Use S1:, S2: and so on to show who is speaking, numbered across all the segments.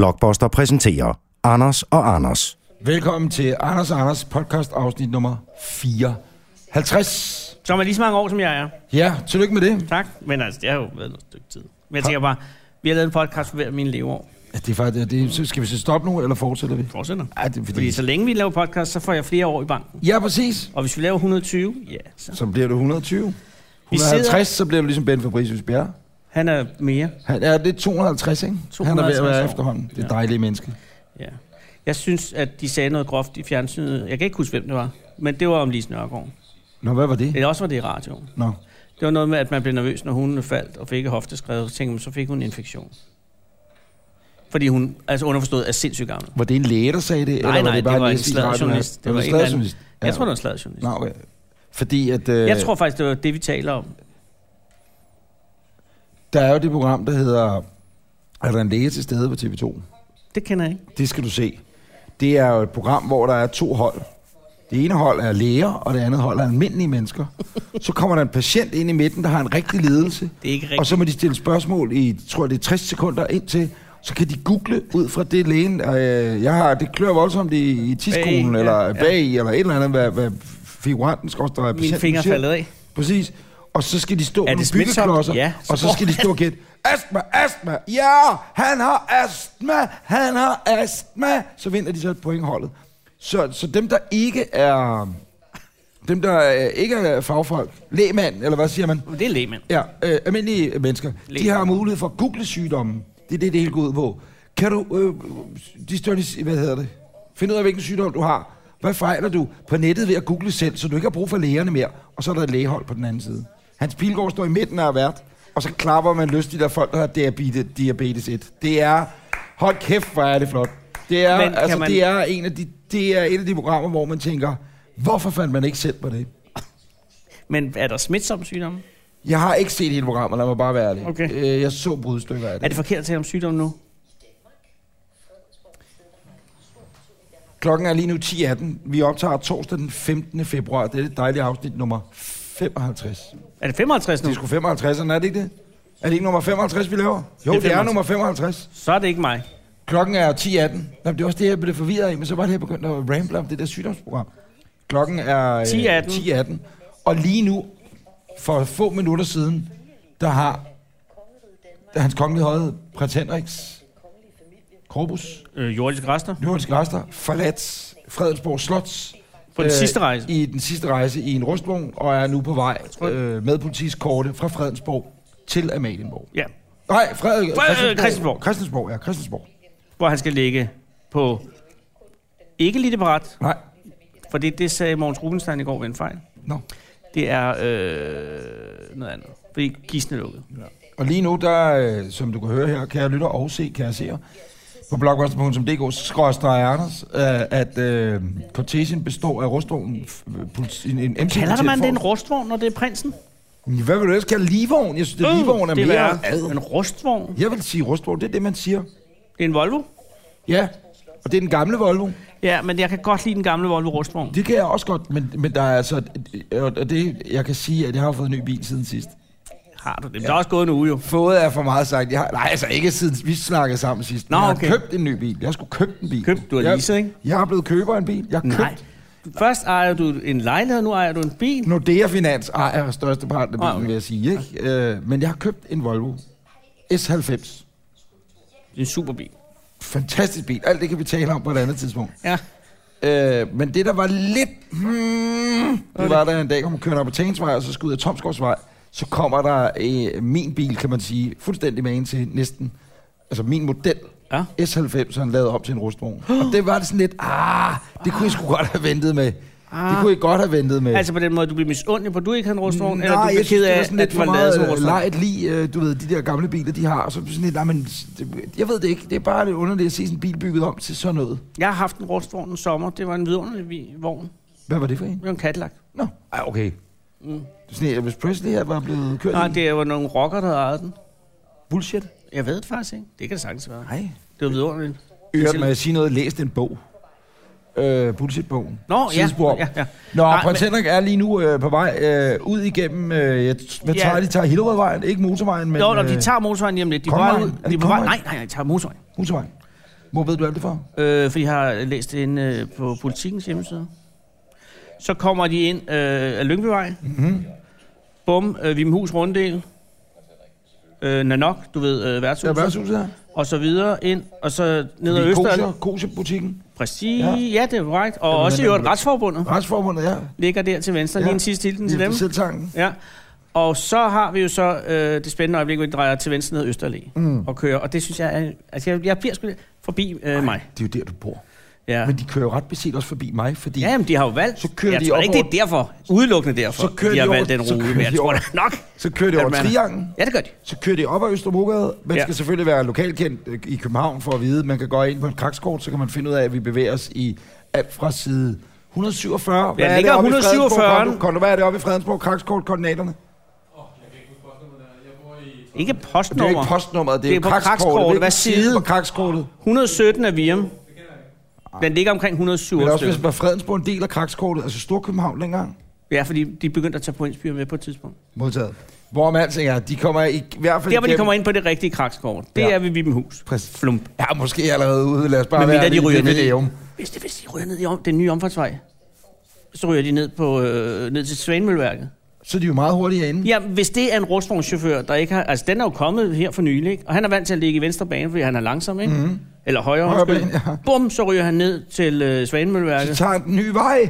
S1: Blockbuster præsenterer Anders og Anders.
S2: Velkommen til Anders og Anders podcast afsnit nummer 54.
S3: Som er lige så mange år, som jeg er.
S2: Ja, tillykke med det.
S3: Tak. Men altså, det har jo været noget stykke tid. Men jeg tænker bare, vi har lavet en podcast for hver af mine leveår.
S2: Ja, Det er faktisk, det, så skal vi så stoppe nu, eller fortsætter vi?
S3: Fortsætter.
S2: Ja, det er fordi...
S3: Fordi så længe vi laver podcast, så får jeg flere år i banken.
S2: Ja, præcis.
S3: Og hvis vi laver 120, ja, så...
S2: Så bliver du 120.
S3: Vi
S2: 150, så bliver du ligesom Ben Fabricius Bjerre.
S3: Han er mere.
S2: Han er det er 250, ikke? Han er ved at
S3: 250
S2: være
S3: år.
S2: efterhånden. Det er
S3: altså. Ja.
S2: dejlige menneske.
S3: Ja. Jeg synes, at de sagde noget groft i fjernsynet. Jeg kan ikke huske, hvem det var. Men det var om Lise Nørgaard.
S2: Nå, hvad var det?
S3: Eller også var det i radioen.
S2: Nå.
S3: Det var noget med, at man blev nervøs, når hun faldt og fik et hofteskred. Så tænkte man, så fik hun en infektion. Fordi hun, altså underforstået, er sindssygt gammel.
S2: Var det en læge, der sagde det?
S3: Nej, nej, det var en
S2: læse i radioen?
S3: sladderjournalist.
S2: Var
S3: Det var
S2: det
S3: en eller anden-
S2: sladderjournalist?
S3: Jeg tror, det var en sladjournalist.
S2: Nå, okay. Fordi at... Øh,
S3: Jeg tror faktisk, det var det, vi taler om.
S2: Der er jo det program, der hedder... Er der en læge til stede på TV2?
S3: Det kender jeg ikke.
S2: Det skal du se. Det er jo et program, hvor der er to hold. Det ene hold er læger, og det andet hold er almindelige mennesker. Så kommer der en patient ind i midten, der har en rigtig lidelse.
S3: Det er ikke rigtigt.
S2: Og så må de stille spørgsmål i, tror jeg, det er 60 sekunder indtil. Så kan de google ud fra det lægen. Øh, jeg har, det klør voldsomt i, i tidskolen,
S3: Bag, ja,
S2: eller
S3: ja.
S2: bag i, eller et eller andet, hvad, hvad figuranten skal også, der er
S3: Mine fingre er faldet af.
S2: Præcis. Og så skal de stå
S3: det
S2: med nogle
S3: smitsomt?
S2: byggeklodser,
S3: Ja,
S2: og
S3: så
S2: så
S3: får
S2: skal de stå og gætte, astma, astma, ja, han har astma, han har astma. Så vinder de så et pointholdet. Så, så dem, der ikke er... Dem, der øh, ikke er fagfolk, lægmand, eller hvad siger man?
S3: Men Det er lægmand.
S2: Ja, øh, almindelige mennesker. De
S3: Lægmand.
S2: har mulighed for at google sygdommen. Det er det, det hele går ud på. Kan du... Øh, de større, hvad hedder det? Find ud af, hvilken sygdom du har. Hvad fejler du på nettet ved at google selv, så du ikke har brug for lægerne mere? Og så er der et lægehold på den anden side. Hans Pilgaard står i midten af hvert, og så klapper man lyst de der folk, der har diabetes, diabetes 1. Det er... Hold kæft, hvor er det flot. Det er,
S3: Men kan
S2: altså,
S3: man-
S2: det er, en af de, det er et af de programmer, hvor man tænker, hvorfor fandt man ikke selv på det?
S3: Men er der smitsomme sygdomme?
S2: Jeg har ikke set hele programmet, lad mig bare være ærlig.
S3: Okay.
S2: Øh, jeg så brudstykker af det.
S3: Er det forkert at tale om sygdomme nu?
S2: Klokken er lige nu 10.18. Vi optager torsdag den 15. februar. Det er det dejlige afsnit nummer 55.
S3: Er det 55 nu?
S2: Det er sgu 55, er det ikke det? Er det ikke nummer 55, vi laver? Jo,
S3: Det
S2: det er,
S3: er
S2: det er
S3: 55.
S2: nummer 55.
S3: Så er det ikke mig.
S2: Klokken er 10.18. Nå, men det er også det, jeg blev forvirret af, men så var det, jeg begyndte at ramble om det der sygdomsprogram. Klokken er øh,
S3: 10.18.
S2: 10.18. Og lige nu, for få minutter siden, der har der er hans kongelige højde, prins Henriks Korbus,
S3: Øh, jordiske rester.
S2: jordiske rester, forladt Fredensborg Slots, øh,
S3: På den sidste rejse.
S2: I den sidste rejse i en rustvogn, og er nu på vej
S3: tror-
S2: øh, med politisk korte fra Fredensborg til Amalienborg.
S3: Ja.
S2: Nej, Fred,
S3: Fred-
S2: Christiansborg. Christiansborg, ja, Christiansborg.
S3: Hvor han skal ligge på... Ikke lige det parat,
S2: Nej,
S3: for det, det sagde Mogens Rubenstein i går ved en fejl.
S2: nå. No.
S3: Det er øh, noget andet. Fordi kisten er lukket.
S2: Og lige nu, der, øh, som du kan høre her, kan jeg lytte og se, kan jeg se på blogposter.dk, skråstrej Anders, øh, at øh, kortesen består af rustvognen, f- øh, politi- en, en MC
S3: Kalder man det en rustvogn, når det er prinsen?
S2: Hvad vil du ellers kalde livvogn? Jeg synes, det er livvogn er
S3: Øh, det
S2: mere...
S3: værre. En rustvogn.
S2: Jeg vil sige rustvogn, det er det, man siger.
S3: Det er en Volvo.
S2: Ja, og det er den gamle Volvo.
S3: Ja, men jeg kan godt lide den gamle Volvo rustvogn.
S2: Det kan jeg også godt, men, men der er altså... Og og det, jeg kan sige, at jeg har fået en ny bil siden sidst.
S3: Har du det? Men Der er også gået en uge jo.
S2: Fået er for meget sagt. Jeg har, nej, altså ikke siden vi snakkede sammen sidst.
S3: Nå,
S2: jeg har
S3: okay.
S2: købt en ny bil. Jeg skulle købe en bil.
S3: Købt? Du har
S2: jeg,
S3: leaset, ikke?
S2: Jeg er blevet køber af en bil. Jeg har
S3: Nej.
S2: købt
S3: Først ejer du en lejlighed, nu ejer du en bil.
S2: Nordea Finans ejer største part af bilen,
S3: Ah, okay. Ah.
S2: vil jeg sige. Ikke? Øh, men jeg har købt en Volvo S90.
S3: Det er en superbil.
S2: Fantastisk bil. Alt det kan vi tale om på et andet tidspunkt.
S3: Ja.
S2: Øh, men det, der var lidt... Hmm, det var, der en dag kom kørende op ad Tagensvej, og så skulle ud af Tomskovsvej. Så kommer der øh, min bil, kan man sige, fuldstændig med en til næsten. Altså min model.
S3: Ja.
S2: S90, han lavede op til en rustvogn. og det var det sådan lidt, ah, det kunne jeg sgu godt have ventet med. Det kunne jeg godt have ventet med.
S3: Ah. Altså på den måde, du bliver misundelig på, at du ikke har en rustvogn,
S2: Nej,
S3: eller du bliver
S2: jeg synes, det var
S3: ked af
S2: sådan
S3: at
S2: lidt for
S3: forlade sådan en
S2: meget øh,
S3: rustvogn.
S2: lejet lige, øh, du ved, de der gamle biler, de har. Og så er det sådan lidt, nej, men det- jeg ved det ikke. Det er bare lidt underligt at se sådan en bil bygget om til sådan noget.
S3: Jeg har haft en rustvogn en sommer. Det var en vidunderlig vi- vogn.
S2: Hvad var det for en?
S3: Det var en Cadillac.
S2: Nå, ej, okay.
S3: Mm.
S2: Det er Sådan, Elvis Presley her var blevet kørt
S3: Nej,
S2: i.
S3: det var nogle rocker, der ejede den.
S2: bullshit.
S3: Jeg ved det faktisk ikke. Det kan det sagtens være.
S2: Nej.
S3: Det var vidunderligt.
S2: Øvrigt, må jeg sige noget, læst en bog. Øh, bullshit-bogen.
S3: Nå, ja.
S2: Sidespor.
S3: ja, ja.
S2: Nå,
S3: Nej,
S2: prins Henrik er lige nu øh, på vej øh, ud igennem, øh, jeg, t- hvad
S3: Ja.
S2: tager de? tager Hillerødvejen, ikke motorvejen, men
S3: Jo, når
S2: øh,
S3: de tager motorvejen lige om lidt. De er på vej
S2: Kongevejen?
S3: ud.
S2: Er det
S3: De er på vej.
S2: Kongevejen?
S3: Nej, nej, nej, de tager motorvejen.
S2: motorvejen. Hvor ved du alt det fra?
S3: øh, fordi jeg har læst det inde øh, på politikens hjemmeside. Så kommer de ind øh, af Lyngbyvej. Mm-hmm. Bum, øh, Vimhus Runddel. Øh, Nanok, du ved, øh,
S2: Ja,
S3: værtshuset.
S2: værtshuset her.
S3: Og så videre ind, og så ned ad
S2: Fordi
S3: Øster.
S2: Kosher- Kosher-butikken.
S3: Præcis,
S2: Ja.
S3: ja. ja, det er korrekt. Og
S2: Jamen,
S3: også
S2: den-
S3: i øvrigt Retsforbundet
S2: Retsformundet, ja.
S3: ligger der til venstre.
S2: Ja.
S3: Ja. Lige en sidste hilsen til dem.
S2: Selv tanken.
S3: Ja. Og så har vi jo så øh, det spændende øjeblik, hvor vi drejer til venstre ned ad Østerlæ
S2: Mm.
S3: mm. og kører. Og det synes jeg er... Altså, jeg, jeg bliver sgu lidt forbi øh, mig.
S2: Det er jo der, du bor.
S3: Ja.
S2: Men de kører jo ret beset også forbi mig, fordi...
S3: Ja, jamen, de har jo valgt.
S2: Så kører
S3: jeg
S2: de
S3: tror
S2: op
S3: ikke, det er derfor. Udelukkende derfor,
S2: Så kører
S3: de har
S2: de over-
S3: valgt den
S2: så
S3: rute.
S2: kører
S3: Men jeg
S2: de
S3: tror
S2: over-
S3: da nok,
S2: Så kører de over
S3: at man-
S2: Triangen,
S3: Ja, det gør de.
S2: så kører de op ad Østerbrogade. Man
S3: Ja.
S2: skal selvfølgelig være lokalkendt øh, i København for at vide. Man kan gå ind på et krakskort, så kan man finde ud af, at vi bevæger os i alt fra side 147. Hvad
S3: Ja,
S2: er det
S3: ligger
S2: oppe i Fredensborg?
S3: 147'eren?
S2: Kondo, Kondo, hvad er det oppe i Fredensborg? Krakskort, koordinaterne?
S3: Ikke
S2: Det er jo ikke
S3: postnummer.
S2: postnummeret, det er,
S3: Det er på
S2: krakskortet.
S3: krakskortet.
S2: Hvilken
S3: Hvad side?
S2: på krakskortet?
S3: 117 af Virum. Den ligger omkring
S2: Men
S3: 107
S2: også hvis
S3: stykker.
S2: man Fredensborg er en del af krakskortet, altså Storkøbenhavn dengang.
S3: Ja, fordi de begyndte at tage pointsbyer med på et tidspunkt.
S2: Modtaget. Hvor man tænker, de kommer i, i hvert fald
S3: Der, hvor de
S2: igennem-
S3: kommer ind på det rigtige krakskort, det
S2: Ja.
S3: er ved Vibenhus.
S2: Præcis.
S3: Flump.
S2: Ja, måske allerede ude. Lad os bare
S3: Men
S2: være
S3: mindre de
S2: lidt-
S3: ryger
S2: lidt
S3: ned.
S2: ved det,
S3: Hvis, det, hvis de ryger ned i om, den nye omfartsvej, så ryger de ned, på, øh, ned til Svanemølværket.
S2: Så er de jo meget hurtigere inde.
S3: Ja, hvis det er en rustvognschauffør, der ikke har... Altså, den er jo kommet her for nylig, ikke? Og han er vant til at ligge i venstre bane, fordi han er langsom, ikke? Mm-hmm. Eller højre,
S2: Højre
S3: højre
S2: bane, ja.
S3: Bum, så ryger han ned til øh,
S2: Så
S3: Svanemølværket.
S2: tager han den nye vej.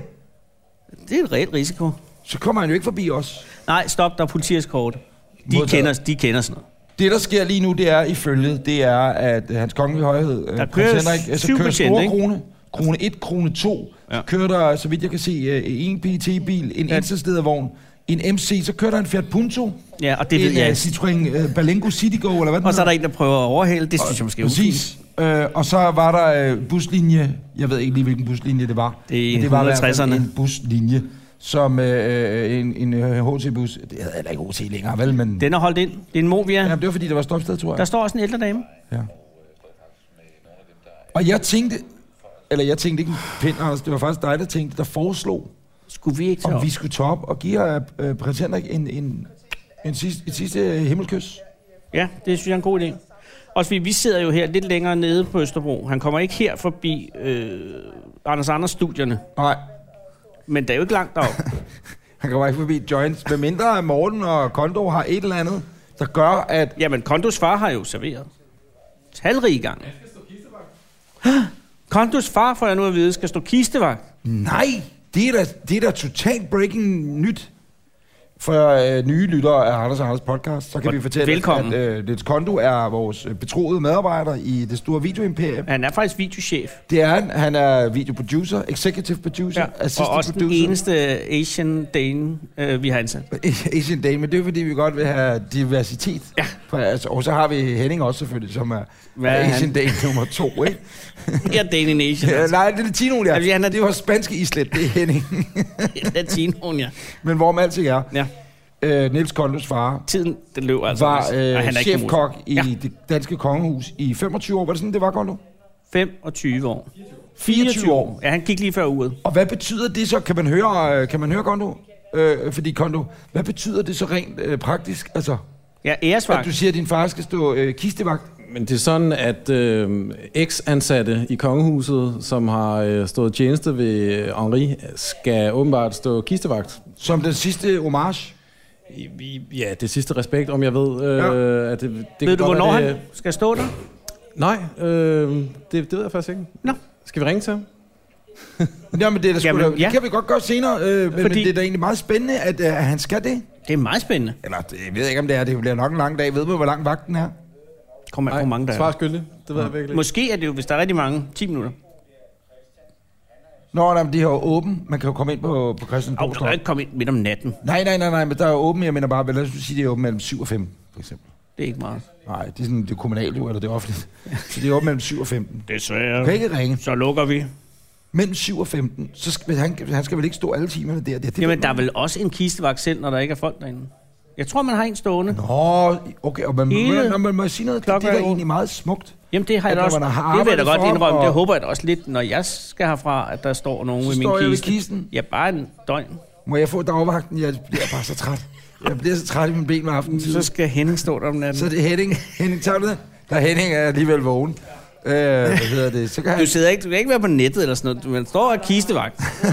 S3: Det er et reelt risiko.
S2: Så kommer han jo ikke forbi os.
S3: Nej, stop, der er politieskort. De
S2: Modtaget.
S3: kender, de kender sådan noget.
S2: Det, der sker lige nu, det er ifølge, det er, at øh, hans kongelige højhed, øh,
S3: Der
S2: prins
S3: kører
S2: Henrik, øh, så
S3: syv
S2: kører
S3: betjente,
S2: store
S3: ikke?
S2: krone, krone 1, krone 2, ja. så
S3: Ja.
S2: kører der, så vidt jeg kan se, øh, en PT-bil, en
S3: Ja.
S2: enselstedervogn, en MC, så kører der en Fiat Punto,
S3: Ja, og det ved
S2: en
S3: jeg
S2: øh,
S3: ikke.
S2: Citroën øh, Balengo Citigo, eller hvad den
S3: Og så er
S2: hedder.
S3: der en, der prøver at overhale. Det synes jeg måske er ufint.
S2: Præcis. Øh, og så var der øh, buslinje, jeg ved ikke lige, hvilken buslinje det var.
S3: Det er
S2: men det var i hvert fald
S3: 160'erne.
S2: en buslinje, som øh, øh, en, en øh, HT-bus, det hedder heller ikke HT længere, vel, men...
S3: Den er holdt ind. Det er en Movia.
S2: Jamen, det var fordi, der var stopsted, tror jeg.
S3: Der står også en ældre dame.
S2: Ja. Og jeg tænkte, eller jeg tænkte ikke pind, Anders, det var faktisk dig, der tænkte, der foreslog,
S3: Skulle vi ikke tage
S2: om
S3: op?
S2: vi skulle tage op og give øh, prins Henrik en, en, en sidste, et sidste øh, himmelkys.
S3: Ja, det synes jeg er en god idé. Også fordi vi sidder jo her lidt længere nede på Østerbro. Han kommer ikke her forbi øh, Anders Anders studierne,
S2: Nej,
S3: men der er jo ikke langt derop.
S2: han kommer ikke forbi Joints, medmindre Morten og Kondo har et eller andet, der gør, at...
S3: Jamen, Kondos far har jo serveret. Talrige gange. Kondos far, får jeg nu at vide, skal stå kistevagt.
S2: Nej, det er da, det er da totalt breaking nyt. For øh, nye lyttere af Anders og Anders podcast, så kan vi fortælle,
S3: Velkommen.
S2: at øh, Niels Kondo er vores øh, betroede medarbejder i det store videoimperium.
S3: Han er faktisk videochef.
S2: Det er han. Han er videoproducer, executive producer,
S3: Ja,
S2: ja. assistant
S3: og også den
S2: producer.
S3: eneste Asian Dane, øh, vi har ansat.
S2: Asian Dame, men det er fordi, vi godt vil have diversitet.
S3: Ja.
S2: For, altså, og så har vi Henning også selvfølgelig, som er,
S3: Hvad
S2: er
S3: er han?
S2: Asian Dame nummer to, ikke?
S3: Ja, Dane in Asian.
S2: ja,
S3: altså.
S2: nej, det er Latino, der.
S3: Jamen, han er-
S2: Det var spanske islet, det er Henning.
S3: Latinoen, ja.
S2: men hvorom alting er,
S3: ja.
S2: øh, Niels Kondos far
S3: Tiden, den løber altså.
S2: var
S3: Og
S2: øh,
S3: han er ikke
S2: chefkok i
S3: Ja.
S2: det danske kongehus i 25 år. Var det sådan, det var, Kondo?
S3: 25 år.
S2: 24 år.
S3: Ja, han gik lige før uret.
S2: Og hvad betyder det så? Kan man høre, øh, kan man høre Kondo? Øh, fordi Kondo, hvad betyder det så rent øh, praktisk? Altså,
S3: Ja,
S2: at
S3: æresvagt.
S2: du siger, at din far skal stå øh, kistevagt.
S4: Men det er sådan, at øh, eks-ansatte i kongehuset, som har øh, stået tjeneste ved øh, Henri, skal åbenbart stå kistevagt.
S2: Som den sidste homage.
S4: I- i- Ja, det sidste respekt, om jeg ved, øh,
S2: Ja.
S4: ja. at det, det kan
S3: Ved du,
S4: godt
S3: hvornår
S4: være, det,
S3: han skal stå der?
S4: Nej, øh, det, det ved jeg faktisk ikke.
S3: Nå.
S4: Skal vi ringe til ham?
S2: Jamen, det, er da sgu
S3: Jamen,
S2: da, det
S3: ja.
S2: kan vi godt gøre senere, øh, men, Fordi...
S3: Fordi-
S2: men det er da egentlig meget spændende, at øh, han skal det.
S3: Det er meget spændende.
S2: Eller, det, jeg ved ikke, om det er. Det bliver nok en lang dag. Ved man, hvor lang vagten er?
S3: Kommer jeg på mange
S4: svar
S3: dage.
S4: skyldig. Det ved jeg virkelig ikke.
S3: Måske er det jo, hvis der er rigtig mange, 10 minutter.
S2: Nå, nej, men de har jo åben. Man kan jo komme ind på, på Christian
S3: Og du kan jo ikke komme ind midt om natten.
S2: Nej, nej, nej, nej, men der er jo åben. Jeg mener bare, lad os nu sige, det er åben mellem 7 og 5, for eksempel.
S3: Det er ikke meget.
S2: Nej, det er sådan, det er kommunalt jo, eller det er offentligt. Så det er åben mellem 7 og 15.
S3: Desværre.
S2: Du kan ikke ringe.
S3: Så lukker vi.
S2: Mellem 7 og 15, så skal han, han skal vel ikke stå alle timerne der. Det, det ved
S3: Jamen,
S2: man
S3: der er vel også en kistevagt selv, når der ikke er folk derinde. Jeg tror, man har en stående.
S2: Nå, okay, og man,
S3: Hele
S2: man, man må jeg sige noget, det, det
S3: klokken
S2: er
S3: er
S2: da
S3: åben.
S2: egentlig meget smukt.
S3: Jamen, det har
S2: At
S3: jeg da
S2: når
S3: også.
S2: man har
S3: Det vil jeg da
S2: arbejdet
S3: godt
S2: for,
S3: indrømme.
S2: og-
S3: Det håber jeg da også lidt, når jeg skal herfra, at der står nogen
S2: Så
S3: i min
S2: står jeg ved
S3: kiste.
S2: kisten.
S3: Ja, bare en døgn.
S2: Må jeg få dagvagten? Jeg bliver bare så træt. Jeg bliver så træt i min ben med aftenen.
S3: Så skal Henning stå der om natten.
S2: Så er det Henning. Henning, tager du det? Der er Henning er alligevel vågen. Øh, hvad hedder det? Så kan
S3: Du
S2: han...
S3: sidder ikke, du kan ikke være på nettet eller sådan noget. Du- Man står og er kistevagt.
S5: Jeg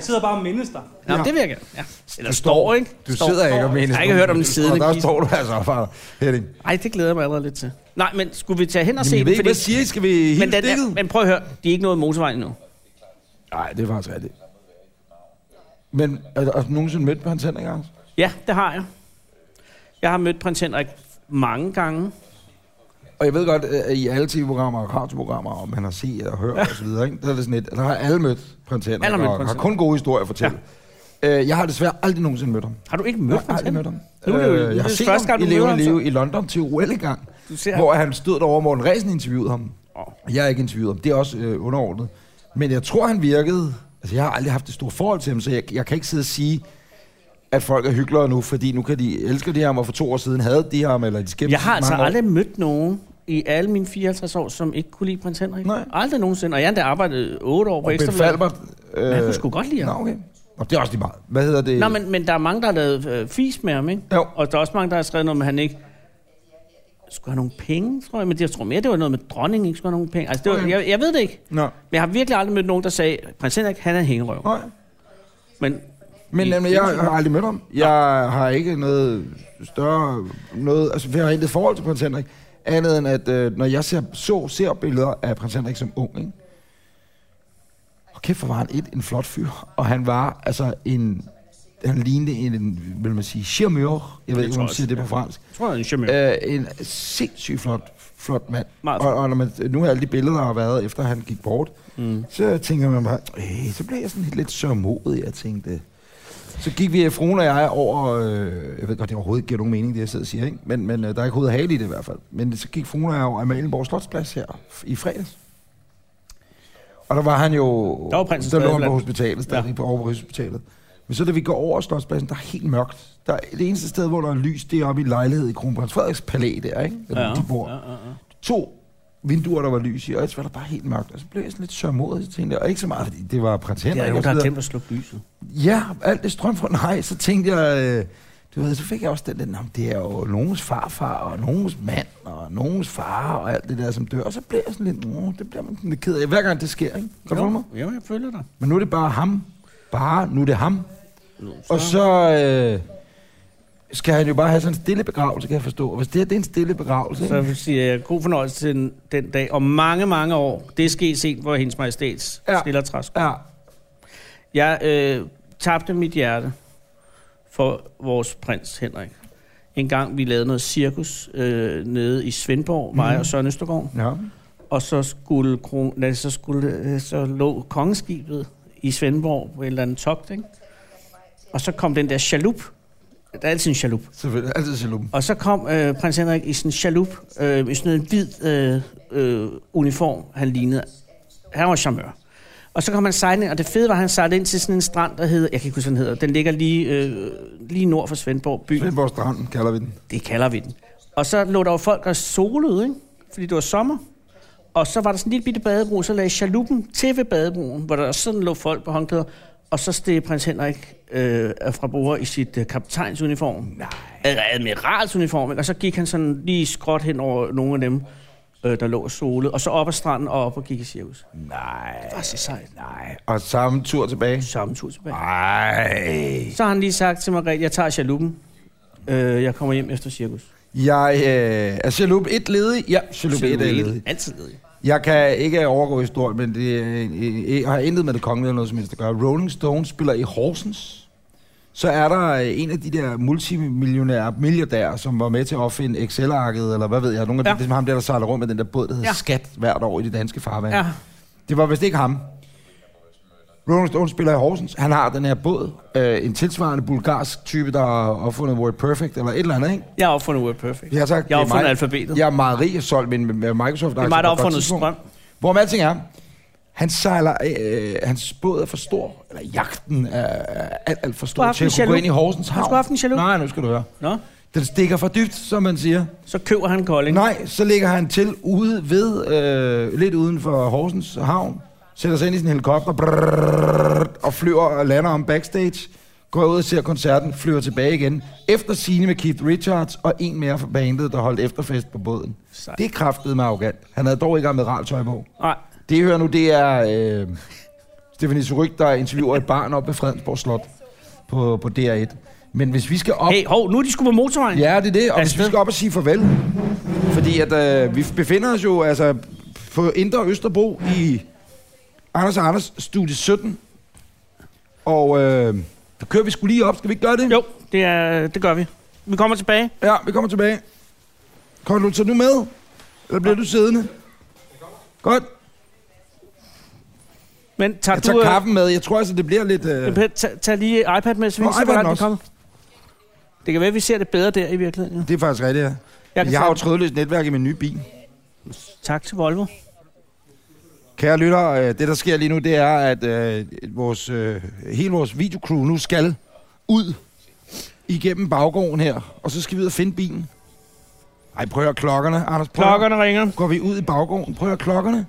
S5: sidder bare og mindes dig.
S3: Nå,
S2: Ja.
S3: ja. det vil jeg gerne. Ja. Eller
S2: Du
S3: står, står, ikke?
S2: Du
S3: står,
S2: sidder ikke og mener...
S3: Jeg har ikke hørt om den
S2: Og
S3: siddende
S2: der
S3: kiste.
S2: står du altså bare, Henning.
S3: Ej, det glæder jeg mig allerede lidt til. Nej, men skulle vi tage hen og se
S2: Jamen, jeg ved
S3: den?
S2: ikke, hvad siger I? Skal vi
S3: men,
S2: helt
S3: den
S2: stikket?
S3: er, men prøv at høre, de er ikke nået motorvejen endnu.
S2: Nej, det er faktisk rigtigt. Men er der, har du nogensinde mødt Hans Henrik Anders?
S3: Ja, det har jeg. Jeg har mødt prins Henrik mange gange.
S2: Og jeg ved godt, at i alle tv-programmer og radioprogrammer, og man har set og hørt osv., ikke? der, er det sådan et, der har alle mødt prins Henrik,
S3: Alle har mødt
S2: og
S3: prins
S2: har kun
S3: Henrik.
S2: gode historier at fortælle. Ja. Øh, jeg har desværre aldrig nogensinde mødt ham.
S3: Har du ikke
S2: Jeg
S3: mødt
S2: har
S3: prins
S2: aldrig
S3: Henrik?
S2: mødt ham. Øh,
S3: Nu er det jo- nu er
S2: jeg har
S3: det
S2: set
S3: første
S2: ham
S3: gang,
S2: i
S3: du
S2: Leve
S3: møder
S2: og
S3: ham, altså.
S2: Leve i London til OL engang,
S3: Du ser
S2: hvor han stod derovre, hvor Morten Ræsen interviewede ham.
S3: Åh.
S2: Jeg har ikke interviewet ham, det er også øh, underordnet. Men jeg tror, han virkede... Altså, jeg har aldrig haft et stort forhold til ham, så jeg, jeg kan ikke sidde og sige, at folk er hyggeligere nu, fordi nu kan de elsker de ham, og for to år siden havde de ham, eller de skæmte
S3: Jeg har altså
S2: mange år.
S3: aldrig mødt nogen i alle mine 54 år, som ikke kunne lide prins Henrik.
S2: Nej.
S3: Aldrig nogensinde. Og jeg har endda arbejdet 8 år på
S2: Og Ben
S3: Ekstrabladet.
S2: Falbert... Øh,
S3: Men han kunne sgu godt lide ham.
S2: Nå, okay. Og det er også lige meget. Hvad hedder det?
S3: Nå, men, men der er mange, der har lavet øh, fis med ham, ikke?
S2: Jo.
S3: Og der er også mange, der har skrevet noget med, at han ikke skulle have nogle penge, tror jeg. Men det, jeg tror mere, det var noget med at dronningen ikke skulle have nogen penge. Altså, det var,
S2: Okay.
S3: jeg, jeg ved det ikke.
S2: Nå.
S3: Men jeg har virkelig aldrig mødt nogen, der sagde, prins Henrik, han er en hængerøv.
S2: Nej.
S3: Men
S2: Men
S3: I
S2: jamen, jeg
S3: findes-
S2: har aldrig mødt ham. Jeg har ikke noget større... Noget, altså, jeg har intet forhold til prins Henrik. Andet end, at øh, når jeg ser, så ser billeder af prins Henrik som ung, ikke? Og kæft, hvor var han et, en flot fyr. Og han var altså en... Han lignede en, en vil man sige, charmeur. Jeg ved ikke,
S3: tror
S2: om man
S3: jeg
S2: siger det på fransk.
S3: jeg tror, han er en charmeur.
S2: Øh, en sindssygt flot, flot mand.
S3: Meget
S2: Og, og når man, nu har alle de billeder, der har været, efter han gik bort, mm. så tænker man bare, øh, så blev jeg sådan lidt sørmodig, jeg tænkte. Så gik vi, fruen og jeg, over, øh, jeg ved godt, det overhovedet ikke giver nogen mening, det jeg sidder og siger, ikke? men, men øh, der er ikke hoved og hale i det i hvert fald. Men så gik fruen og jeg over Amalienborg Slotsplads her f- i fredags. Og der var han jo...
S3: Der var prinsen
S2: der lå
S3: stadig
S2: han på
S3: blandt-
S2: hospitalet, stadig ja. på over på hospitalet. Men så da vi går over Slotspladsen, der er helt mørkt. Der er det eneste sted, hvor der er lys, det er oppe i en lejlighed i Kronprins Frederiks palæ der, ikke?
S3: Øh,
S2: Eller, ja. de bor.
S3: Ja, ja, ja.
S2: To vinduer, der var lys i, og ellers var der bare helt mørkt. Og så blev jeg sådan lidt sørmodig, så tænkte jeg, og ikke så meget, fordi det var prins Henrik.
S3: Der er
S2: og
S3: nogen,
S2: så
S3: der har
S2: videre.
S3: glemt at slukke lyset.
S2: Ja, alt det strøm fra nej, så tænkte jeg, øh, du ved, så fik jeg også den der, "Nå, men det er jo nogens farfar, og nogens mand, og nogens far, og alt det der, som dør. Og så bliver jeg sådan lidt, "Nå, det bliver man sådan lidt ked af, hver gang det sker, ikke? Kan du følge mig?
S3: jo, jeg følger dig.
S2: Men nu er det bare ham. Bare, nu er det ham.
S3: Nu,
S2: Og så øh, skal han jo bare have sådan en stille begravelse, kan jeg forstå. Og hvis det her det er en stille begravelse, ikke?
S3: Så siger jeg god fornøjelse til den, den dag. Og mange, mange år, det skal set, hvor hendes majestæts
S2: Ja.
S3: ja. stiller træsko.
S2: Ja,
S3: Jeg øh, tabte mit hjerte for vores prins Henrik. En gang vi lavede noget cirkus øh, nede i Svendborg, mig og Søren Østergaard.
S2: ja.
S3: Og så skulle, kron, nej, så, skulle øh, så lå kongeskibet i Svendborg på en eller anden togt, ikke? Og så kom den der chalup. Der er altid en chalup.
S2: Selvfølgelig, altid chalup.
S3: Og så kom øh, prins Henrik i sådan en chalup, øh, i sådan en hvid øh, øh, uniform, han lignede. Han var charmeur. Og så kom han sejlende, og det fede var, at han sejlede ind til sådan en strand, der hedder, jeg kan ikke huske, hvad den hedder, den ligger lige, øh, lige nord for Svendborg by.
S2: Svendborg Strand kalder vi den.
S3: Det kalder vi den. Og så lå der jo folk og solede, ikke? fordi det var sommer. Og så var der sådan en lille bitte badebro, så lagde chaluppen til ved badebroen, hvor der sådan lå folk på håndklæder. Og så steg prins Henrik øh, fra bordet i sit øh, kaptajnsuniform. Nej. Eller admiralsuniform, ikke? Og så gik han sådan lige skråt hen over nogle af dem, øh, der lå og solede. Og så op ad stranden og op og gik i cirkus.
S2: Nej,
S3: Det var så sejt.
S2: nej. Og samme tur tilbage.
S3: Samme tur tilbage.
S2: Nej.
S3: Så har han lige sagt til Margrethe, jeg tager chaluppen. Øh, jeg kommer hjem efter cirkus.
S2: Jeg øh, er chalup 1 ledig. Ja, chalup 1 er ledig.
S3: Altid ledig.
S2: Jeg kan ikke overgå historien, men det er en- en- en- har intet med det kongelige eller noget som helst at gøre. Rolling Stones spiller i Horsens. Så er der øh, en af de der multimillionære milliardærer, som var med til at opfinde Excel-arket, eller hvad ved jeg. Nogle af de,
S3: Ja.
S2: ja. ligesom ham der, der sejler rundt med den der båd, der hedder ja.
S3: Ja.
S2: Skat hvert år i det danske farvand.
S3: Ja.
S2: Det var vist ikke ham. Rolling Stones spiller i Horsens. Han har den her båd. Øh, en tilsvarende bulgarsk type, der har opfundet Word Perfect, eller et eller andet, ikke?
S3: Jeg har opfundet Word Perfect.
S2: Jeg har sagt,
S3: jeg har
S2: det er mig.
S3: opfundet alfabetet.
S2: Jeg er meget rig og solgt min med Microsoft.
S3: det er mig, der har opfundet strøm.
S2: Hvor med alting er, han sejler, øh, hans båd er for stor, eller jagten er er alt, alt for
S3: Du har
S2: stor
S3: haft
S2: til
S3: en
S2: at kunne gå
S3: chalup.
S2: ind i Horsens
S3: Du
S2: havn.
S3: skulle have haft en chalup.
S2: Nej, nu skal du høre.
S3: Nå,
S2: Den stikker for dybt, som man siger.
S3: så køber han Kolding.
S2: Nej, så ligger han til ude ved, øh, lidt uden for Horsens havn, sætter sig ind i sin helikopter, brrrr, og flyver og lander om backstage, går jeg ud og ser koncerten, flyver tilbage igen, efter sine med Keith Richards og en mere fra bandet, der holdt efterfest på båden.
S3: Sejt.
S2: Det kraftede mig arrogant. Han havde dog ikke amiraltøj på.
S3: Nej,
S2: Det, I hører nu, det er øh, Stephanie Suryk, der interviewer et barn oppe ved Fredensborg Slot på, på DR1. Men hvis vi skal op...
S3: hey, hov, nu er de sgu på motorvejen.
S2: Ja, det er det. Og hvis vi
S3: Afsted.
S2: skal op og sige farvel. Fordi at, øh, vi befinder os jo altså, på Indre Østerbro i Anders og Anders Studie 17. Og øh, så kører vi skulle lige op. Skal vi ikke gøre det?
S3: Jo, det, er, det gør vi. Vi kommer tilbage.
S2: Ja, vi kommer tilbage. Kommer du så nu med? Eller bliver du siddende? Godt.
S3: Men tager
S2: Jeg
S3: du...
S2: tager
S3: øh,
S2: kaffen med. Jeg tror altså, det bliver lidt... Øh...
S3: Per, tag, tag lige iPad med, så vi
S2: Nå,
S3: kan se, hvor
S2: iPad'en
S3: langt vi
S2: også.
S3: kommer. Det kan være, at vi ser det bedre der i virkeligheden. Jo.
S2: Det er faktisk rigtigt, ja.
S3: Jeg kan
S2: Jeg har jo
S3: tage-
S2: trådløst netværk i min nye bil.
S3: Tak til Volvo.
S2: Kære lytter, øh, det der sker lige nu, det er, at øh, vores, øh, hele vores videocrew nu skal ud igennem baggården her, og så skal vi ud og finde bilen. Ej, prøv at høre klokkerne, Anders. Prøv at høre.
S3: Klokkerne ringer.
S2: Går vi ud i baggården? Prøv at høre klokkerne.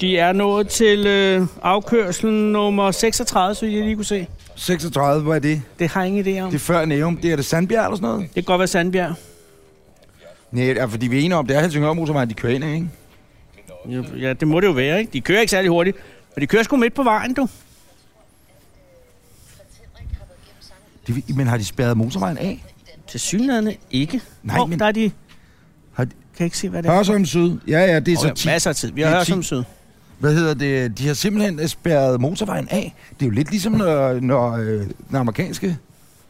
S3: De er nået til øh, afkørslen nummer 36, så jeg lige kunne se.
S2: 36, hvad er det?
S3: Det har jeg ingen idé
S2: Det
S3: om.
S2: er
S3: Det,
S2: før Nærum. Det er det Sandbjerg eller sådan noget?
S3: kan godt være Sandbjerg.
S2: Nej, ja, fordi vi er enige om, det er Helsingør Motorvejen, de kører ind, ad, ikke?
S3: Jo, Ja, det må det jo være, ikke? De kører ikke særlig hurtigt. Men de kører sgu midt på vejen, du.
S2: De, men har de spærret motorvejen af?
S3: Til synlædende ikke.
S2: Nej,
S3: Hov,
S2: men-
S3: der er de...
S2: Har
S3: Har
S2: de-
S3: de... Kan jeg ikke se, hvad det er.
S2: Hørsholm Syd. Ja, ja, det er
S3: Okay,
S2: så tit.
S3: masser af tid. Vi
S2: Det er
S3: har hørt
S2: ti-
S3: som syd.
S2: hvad hedder det, de har simpelthen øh, spærret motorvejen af. Det er jo lidt ligesom, når, når øh, den amerikanske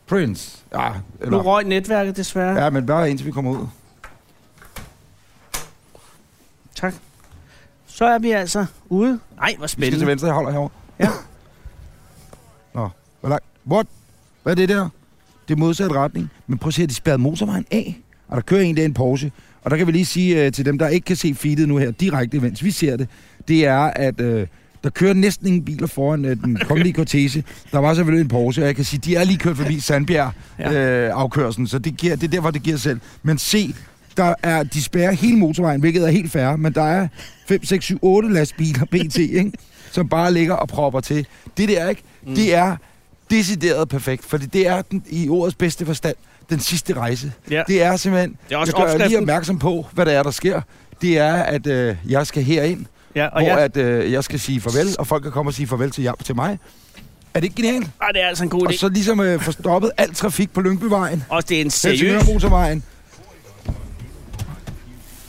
S2: Prince... Ja,
S3: Nu
S2: eller,
S3: røg netværket desværre. Ja.
S2: ja, men bare indtil vi kommer ud.
S3: Tak. Så er vi altså ude. Nej, hvor
S2: Vi skal til
S3: spændende.
S2: venstre, jeg holder herovre.
S3: Ja.
S2: Nå, hvor langt? What? Hvad er det der? Det er modsat retning. Men prøv at se, at de spærrede motorvejen af. Og der kører en, der er en Porsche. Og der kan vi lige sige øh, til dem, der ikke kan se feedet nu her direkte, mens vi ser det, det er, at øh, der kører næsten ingen biler foran øh, den kongelige kortese. Der var selvfølgelig en Porsche, og jeg kan sige, de er lige kørt forbi Sandbjerg-afkørselen, øh, afkørslen, så det, giver, det er derfor, det giver selv. Men se, der er, de spærrer hele motorvejen, hvilket er helt fair, men der er 5, 6, 7, 8 lastbiler pt, ikke? som bare ligger og propper til. Det der, ikke? Mm. Det er decideret perfekt, fordi det er den, i ordets bedste forstand den sidste rejse.
S3: Ja.
S2: Det er simpelthen...
S3: Det er også
S2: jeg gør lige
S3: opskriften.
S2: opmærksom på, hvad der er, der sker. Det er, at øh, jeg skal herind,
S3: Ja,
S2: og
S3: og
S2: hvor
S3: jeg...
S2: at, øh, jeg skal sige farvel, og folk kan komme og sige farvel til, jer, til mig. Er det ikke genialt?
S3: Ej, det er altså en god
S2: Og
S3: idé.
S2: så ligesom øh, få stoppet al trafik på Lyngbyvejen.
S3: Og det er en seriøs...
S2: Helsingør-motorvejen.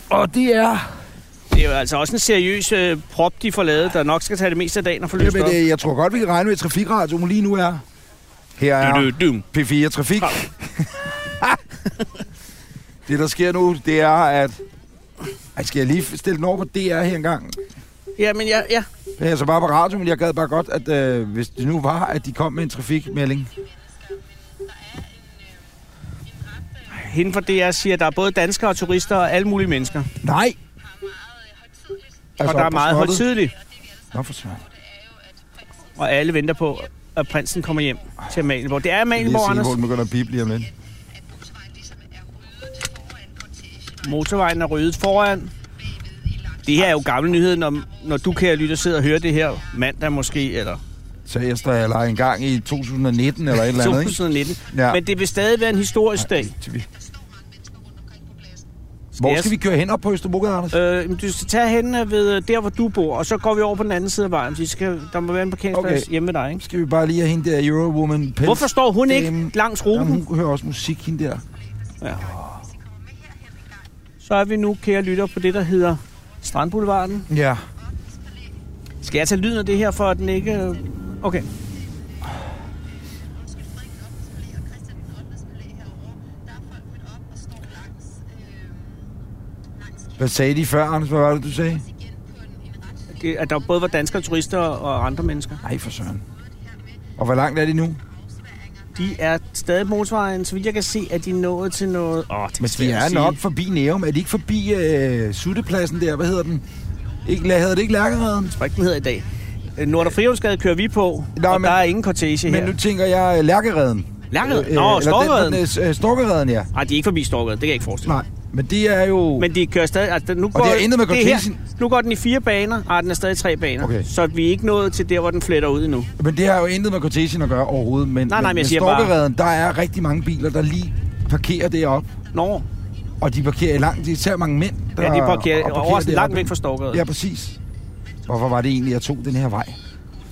S2: Og det er...
S3: Det er jo altså også en seriøs øh, prop, de får lavet, der nok skal tage det meste af dagen og få løst op.
S2: Jamen, øh, jeg tror godt, vi kan regne med, at trafikradioen lige nu er... Her er
S3: Du, du, du.
S2: P4 Trafik. det, der sker nu, det er, at... Ej, skal jeg lige stille den over på DR her engang?
S3: Ja, men ja, ja.
S2: Det er altså bare på radio, men jeg gad bare godt, at øh, hvis det nu var, at de kom med en trafikmelding.
S3: Hende fra DR siger, at der er både danskere og turister og alle mulige mennesker.
S2: Nej!
S3: Altså, og der er
S2: op på
S3: meget
S2: slottet.
S3: højtidligt,
S2: Nå, for søren.
S3: og alle venter på, at prinsen kommer hjem til Amalienborg. Det er
S2: Lige at
S3: Amalienborg,
S2: se,
S3: Anders.
S2: hvor den begynder at bippe lige om lidt.
S3: Motorvejen er ryddet foran. Det her er jo gamle nyheder, når, når du, kære lytter, sidder og hører det her mandag måske, eller
S2: Så jeg står eller en gang i 2019 eller et eller andet, ikke?
S3: 2019.
S2: Ja.
S3: Men det vil stadig være en historisk dag.
S2: Hvor
S3: jeg-
S2: skal vi køre hen op på Østerbrogade, Anders?
S3: Øh, jamen, du skal tage hen øh, ved øh, der, hvor du bor, og så går vi over på den anden side af vejen. Vi skal, der må være en parkeringsplads
S2: Okay.
S3: okay. hjemme ved dig, ikke?
S2: Skal vi bare lige have hende der Eurowoman Pels?
S3: Hvorfor står hun
S2: Øhm,
S3: ikke langs
S2: Jamen,
S3: ruten?
S2: hun hører også musik, hende der.
S3: Så er vi nu, kære lytter, på det, der hedder Strandboulevarden.
S2: Ja.
S3: Skal jeg tage lyden af det her, for at den ikke... øh, Okay.
S2: Hvad sagde de før, Anders? Hvad var det, du sagde?
S3: Det, at der både var danskere, turister og andre mennesker.
S2: Nej, for søren. Og hvor langt er det nu?
S3: De er stadig på motorvejen, så vidt jeg kan se, at de er nået til noget... Åh, det
S2: Men
S3: svært
S2: de
S3: at
S2: er
S3: sige.
S2: nok forbi Nærum. Er de ikke forbi øh, Suttepladsen der? Hvad hedder den? Ikke, la- hedder det ikke Lærkeredden?
S3: Jeg tror ikke, den hedder i dag. Øh, Nord- og Frihavnsgade kører vi på,
S2: Nå,
S3: Nå, og
S2: men-
S3: der er ingen kortege
S2: Men
S3: her.
S2: nu tænker jeg øh, Lærkeredden.
S3: Lærkeredden? Nå, Storkeredden.
S2: Storkeredden, øh, ja.
S3: Nej, de er ikke forbi Storkeret, det kan jeg ikke forestille mig.
S2: Nej, Men det er jo... Men,
S3: Men de kører stadig... Altså, nu går,
S2: det har intet med
S3: det her,
S2: Cortesen-
S3: Nu går den i fire baner, og den er stadig i tre baner.
S2: Okay.
S3: Så vi er ikke nået til der, hvor den fletter ud endnu.
S2: men det har jo intet med cortesien at gøre overhovedet. Men,
S3: nej, men jeg
S2: men
S3: siger
S2: med
S3: bare-
S2: Storkereden, der er rigtig mange biler, der lige parkerer deroppe.
S3: Nå,
S2: Og de parkerer i langt. Det er især mange mænd, der
S3: ja, de parkerer,
S2: og
S3: og overraskende langt
S2: deroppe.
S3: væk fra Storgade.
S2: Ja, præcis. Hvorfor var det egentlig, jeg tog den her vej?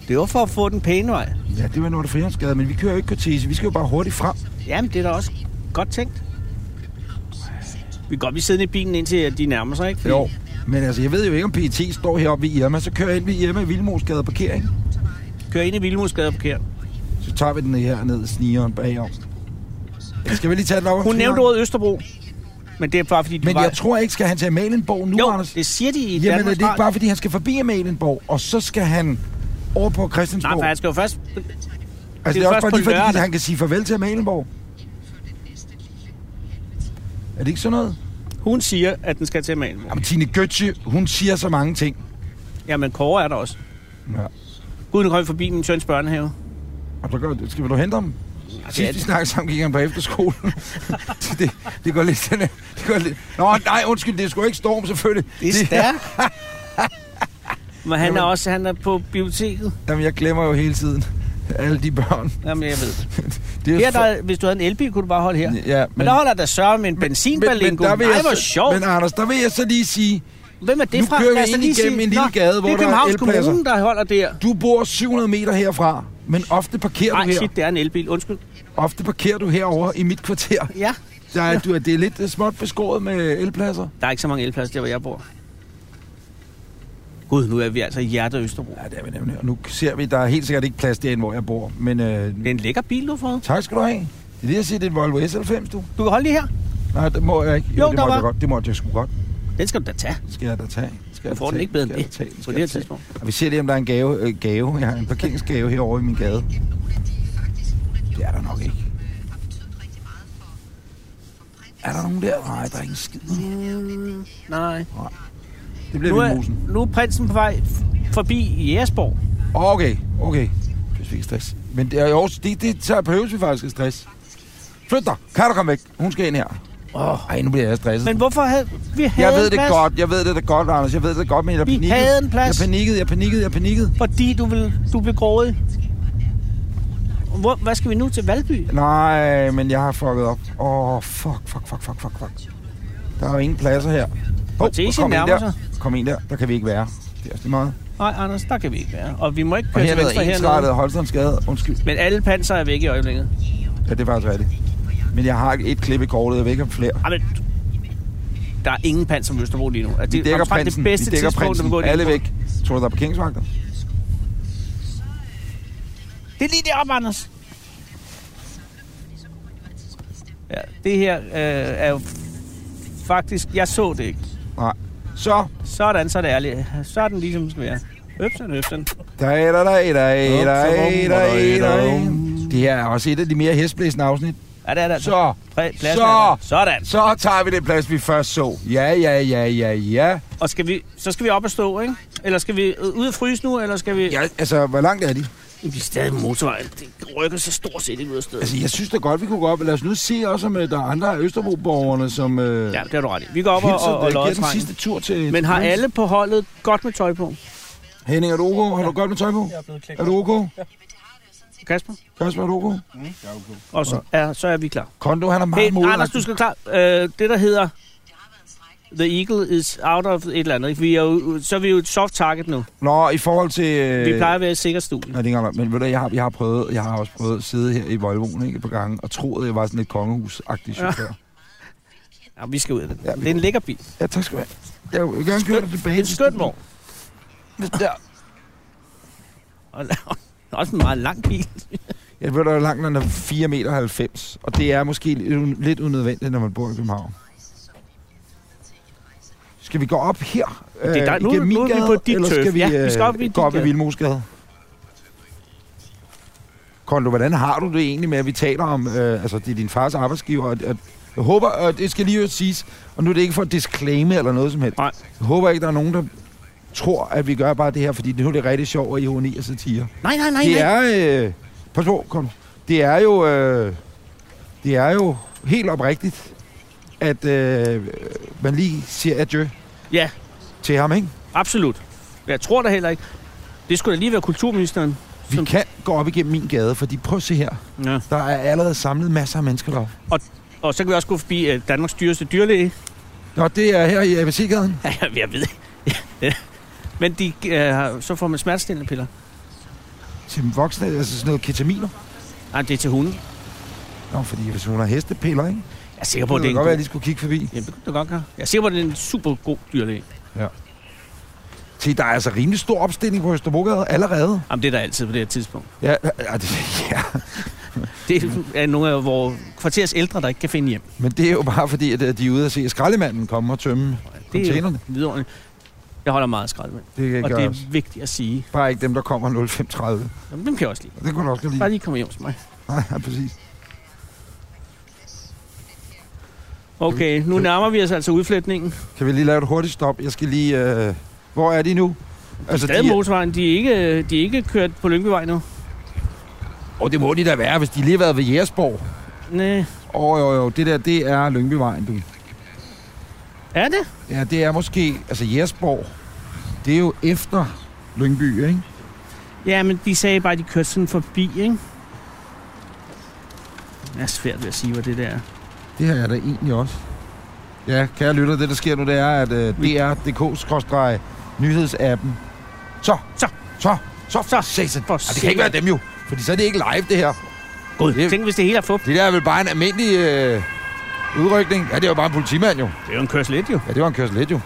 S3: Det var for at få den pæne vej.
S2: Ja, det var Nord Frihandsgade, men vi kører jo ikke cortese. Vi skal jo bare hurtigt frem.
S3: Jamen, det er da også godt tænkt. Vi kan godt blive siddende i bilen, indtil at de nærmer sig, ikke? Fordi-
S2: Jo. Men altså, jeg ved jo ikke, om PET står heroppe ved Irma. Så kører jeg ind ved Irma i Vildmosgade parkering.
S3: Kører ind i Vildmusgade og parkerer.
S2: Så tager vi den her ned snigeren bagom. Eller Skal vi lige tage den op om
S3: Hun
S2: snigeren?
S3: nævnte ordet Østerbro. Men det er bare fordi, du
S2: Men
S3: var...
S2: jeg tror ikke, skal han til Amalienborg nu,
S3: jo,
S2: Anders?
S3: det siger de i
S2: Jamen, er
S3: Danmarks
S2: det ikke
S3: Radio.
S2: bare, fordi han skal forbi Amalienborg, og så skal han over på
S3: Nej,
S2: Christiansborg?
S3: for han skal jo først...
S2: altså,
S3: det
S2: det
S3: er
S2: er også
S3: først
S2: bare
S3: på
S2: lige, fordi
S3: lørdag.
S2: han kan sige farvel til Amalienborg. Er det ikke sådan noget?
S3: Hun siger, at den skal til Malmø.
S2: Jamen, Tine Götze, hun siger så mange ting.
S3: Jamen, Kåre er der også.
S2: Ja.
S3: Gud, nu kom jeg forbi min søns børnehave.
S2: Og så gør, skal du hente ham?
S3: det er
S2: Sidst vi
S3: det.
S2: snakkede sammen, gik han på efterskolen. Så det, det går lidt... Den, er- det går lidt. Nå, nej, undskyld, det er sgu ikke Storm, selvfølgelig.
S3: Men han er også han er på biblioteket.
S2: Jamen, jeg glemmer jo hele tiden alle de børn.
S3: Jamen, jeg ved.
S2: Det er
S3: Her,
S2: for-
S3: der, hvis du havde en elbil, kunne du bare holde her. Men,
S2: Ja, men,
S3: men der holder der sørme med en benzinballingo. Nej,
S2: jeg
S3: hvor
S2: så-
S3: sjovt.
S2: Men Anders, der vil jeg så lige sige,
S3: Hvem er det
S2: nu
S3: fra?
S2: kører vi
S3: Lad os da
S2: ind
S3: lige
S2: igennem
S3: sige-
S2: en lille
S3: Nå,
S2: gade, hvor
S3: det er
S2: der er
S3: Københavns
S2: elpladser.
S3: Kommune, der holder der.
S2: du bor 700 meter herfra, men ofte parkerer
S3: Nej,
S2: du her.
S3: shit, det er en elbil. Undskyld.
S2: Ofte parkerer du herover i mit kvarter.
S3: Ja.
S2: Der er, du, er- det er lidt øh, småt beskåret med elpladser.
S3: Der er ikke så mange elpladser der, hvor jeg bor. Gud, nu er vi altså i hjertet af Østerbro.
S2: Ja, det er vi nemlig. Og nu ser vi, der er helt sikkert ikke plads derinde, hvor jeg bor. Men øh,
S3: Det er en lækker bil, du har fået.
S2: tak skal du have. Det er det, jeg siger, det er en Volvo S90, du.
S3: Du kan holde lige her.
S2: Nej, det må jeg ikke.
S3: Jo,
S2: det
S3: der
S2: måtte
S3: var-
S2: jeg godt. Det måtte jeg sgu godt.
S3: Den skal du da tage.
S2: Det skal jeg da tage. Det Skal
S3: Du
S2: jeg
S3: får
S2: da
S3: den
S2: tage.
S3: ikke bedre
S2: Det
S3: end
S2: skal jeg
S3: det,
S2: da tage. Det skal jeg
S3: på det her
S2: da tage.
S3: tidspunkt.
S2: Og vi ser lige, om der er en gave, øh, gave. Jeg har en parkeringsgave herovre i min gade. Det er der nok ikke. Er der nogen der? Nej, der er ingen skid.
S3: Mm, nej.
S2: Det
S3: Nu
S2: bliver
S3: er,
S2: vi musen.
S3: nu er prinsen på vej f- forbi Jægersborg.
S2: Okay, okay. Det er ikke stress. Men det er jo også, det, det tager behøves vi faktisk at stress. Flyt dig. Kan du komme væk? Hun skal ind her. Åh, oh, nu bliver jeg stresset.
S3: Men hvorfor havde vi havde
S2: jeg ved
S3: en
S2: det
S3: plads,
S2: godt, jeg ved det da godt, Anders. Jeg ved det da godt, men jeg
S3: Vi
S2: panikkede.
S3: havde en plads.
S2: Jeg panikkede, jeg panikkede, jeg panikkede.
S3: Fordi du, vil, du blev grådig. Hvor, hvad skal vi nu til Valby?
S2: Nej, men jeg har fucket op. Åh, oh, fuck, fuck, fuck, fuck, fuck, fuck. Der er jo ingen pladser her. Hov,
S3: Cortesien
S2: kom en
S3: nærmer
S2: der. Kom en der. Der kan vi ikke være. Det er også lige meget.
S3: Nej, Anders, der kan vi ikke være. Og vi må ikke
S2: Og
S3: køre til
S2: hernede er
S3: venstre
S2: ensrettet
S3: hernede.
S2: Holstensgade. Undskyld.
S3: Men alle panser er væk i øjeblikket.
S2: Ja, det er faktisk rigtigt. Men jeg har et klip i kortet. Jeg vil ikke have flere.
S3: Ej, Ah, men, der er ingen pans som Østerbro lige nu. Og
S2: Vi
S3: Det
S2: dækker
S3: omtrent
S2: prinsen.
S3: det bedste
S2: vi dækker
S3: tidspunkt, at
S2: prinsen.
S3: gå ind
S2: Alle
S3: på.
S2: væk. Tror du, der er parkeringsvagter?
S3: Det er lige deroppe, Anders. Ja, det her øh, er jo f- faktisk... Jeg så det ikke.
S2: Nej. Så.
S3: Sådan, så er det ærligt. Så er den ligesom den skal være. Øpsen, øpsen.
S2: Da, da, da, da, da, da, da, da.
S4: Upsadum.
S2: Det her er også et af de mere hæsblæsende afsnit.
S3: Ja, det er der.
S2: Så.
S3: Præ- pladsen
S2: Så.
S3: er der. Sådan.
S2: Så tager vi den plads, vi først så. Ja, ja, ja, ja, ja.
S3: Og skal vi, så skal vi op og stå, ikke? Eller skal vi øh, ud og fryse nu, eller skal vi...
S2: Ja, altså, hvor langt er de?
S3: Vi er stadig på motorvejen. Det rykker så stort set ikke ud af stedet.
S2: Altså, jeg synes da godt, vi kunne gå op. Lad os nu se også, om øh, der er andre af Østerbro-borgerne, som øh,
S3: Ja, det har du ret i. Vi går op og,
S2: hilser,
S3: og, og
S2: øh, giver
S3: lodder
S2: den
S3: drengen.
S2: sidste tur til...
S3: Men har alle på holdet godt med tøj på?
S2: Henning, er du ok? Har du godt med tøj på? Er du ok?
S3: Kasper?
S2: Kasper, er du ok?
S3: Og så er, så er vi klar.
S2: Kondo, han er meget
S3: Hey,
S2: hey,
S3: Anders, du skal klar. Øh, det, der hedder The Eagle is out of et eller andet. Ikke? Vi er jo, så er vi jo et soft target nu.
S2: Nå, i forhold til... Øh...
S3: Vi plejer at være et sikkert studie.
S2: Nej, det er ikke engang, men ved du, jeg har, jeg har prøvet, jeg har også prøvet at sidde her i Volvoen ikke, et par gange, og troede, jeg var sådan lidt kongehus-agtig chauffør. Ja.
S3: Ja, vi skal ud af den.
S2: Ja, vi
S3: det er en lækker bil.
S2: ja, tak skal du have. Jeg vil gerne køre dig tilbage.
S3: En
S2: til
S3: skøn
S2: stuen.
S3: vogn.
S2: Der.
S3: Og, og også en meget lang bil.
S2: Jeg ved, der er langt, når den er 4,90 meter, og det er måske lidt un- lidt unødvendigt, når man bor i København. Skal vi gå op her? Øh,
S3: Det er der- nu-
S2: igennem min
S3: nu er vi
S2: gade,
S3: på dit
S2: eller
S3: tøf.
S2: skal vi,
S3: Ja, vi skal op i
S2: øh,
S3: dit
S2: gå op i
S3: gade.
S2: Vildmosgade? Kondo, hvordan har du det egentlig med, at vi taler om, øh, altså det er din fars arbejdsgiver, og, og jeg håber, og det skal lige jo siges, og nu er det ikke for at disclaime eller noget som helst.
S3: Nej.
S2: Jeg håber ikke, der er nogen, der tror, at vi gør bare det her, fordi nu er det rigtig sjovt og ironi og satire.
S3: Nej, nej, nej.
S2: Det
S3: nej.
S2: er... Øh, pas på, kom. Det er jo... Øh, det er jo helt oprigtigt, at øh, man lige siger adieu
S3: Ja,
S2: til ham, ikke?
S3: absolut. Jeg tror da heller ikke. Det skulle da lige være kulturministeren.
S2: Vi
S3: Som-
S2: kan gå op igennem min gade, fordi prøv at se her.
S3: Ja.
S2: Der er allerede samlet masser af mennesker deroppe.
S3: Og så kan vi også gå forbi øh, Danmarks dyreste dyrlæge.
S2: Nå, det er her i ABC-gaden.
S3: Ja, jeg- jeg ved ikke. Men de, øh, har- så får man smertestillende piller.
S2: Til voksne, altså sådan noget ketaminer.
S3: Nej, Ah, det er til hunde.
S2: Nå, fordi hvis hun har hestepiller, ikke?
S3: Jeg er sikker på,
S2: Det
S3: at det er
S2: kunne
S3: en
S2: godt være, at jeg
S3: god...
S2: lige skulle kigge forbi.
S3: Ja, det kunne du godt gøre. Jeg er sikker på, at det er en super god dyrlæge.
S2: Se, der er altså rimelig stor opstilling på Østerbrogade allerede.
S3: Jamen, det er der altid på det her tidspunkt.
S2: Ja, ja, det, ja,
S3: Det
S2: Mm.
S3: er nogle af vores kvarters ældre, der ikke kan finde hjem.
S2: men det er jo bare fordi, at øh, de er ude at se skraldemanden komme og tømme
S3: Det er
S2: containerne.
S3: jo vidunderligt. Jeg holder meget af skraldemænd.
S2: Det
S3: Og
S2: gør
S3: det
S2: også.
S3: er vigtigt at sige.
S2: Bare ikke dem, der kommer 0530.
S3: Jamen, dem kan jeg også lide.
S2: Det kunne du også godt lide.
S3: Bare lige komme hjem til mig.
S2: Nej, ja, præcis. Mm.
S3: Okay, nu nærmer vi os altså udflætningen.
S2: Kan vi lige lave et hurtigt stop? Jeg skal lige... Øh, hvor er de nu? Altså,
S3: Stadig motorvejen, de er, ikke, de er ikke kørt på Lyngbyvej nu.
S2: Og det må de da være, hvis de lige har været ved Jægersborg.
S3: Næh.
S2: Åh, oh, jo, jo, det der, det er Lyngbyvejen, du.
S3: Er det?
S2: Ja, det er måske... Altså, Jægersborg, det er jo efter Lyngby, ikke?
S3: Ja, men de sagde bare, at de kørte sådan forbi, ikke? Det er svært ved at sige, hvad det der er.
S2: Det har jeg da egentlig også. Ja, kære lytter, det der sker nu, det er, at uh, dr.dk-nyhedsappen... Så,
S3: Så.
S2: så, så,
S3: Så.
S2: for satan.
S3: For
S2: Ej, det kan ikke være dem jo, fordi så er det ikke live, det her.
S3: God,
S2: Det-
S3: tænk hvis det hele er fup.
S2: Det der er vel bare en almindelig øh, udrykning. Ja, det er jo bare en politimand jo.
S3: Det er jo en kørsel lidt, jo.
S2: Ja, det var en kørsel lidt jo.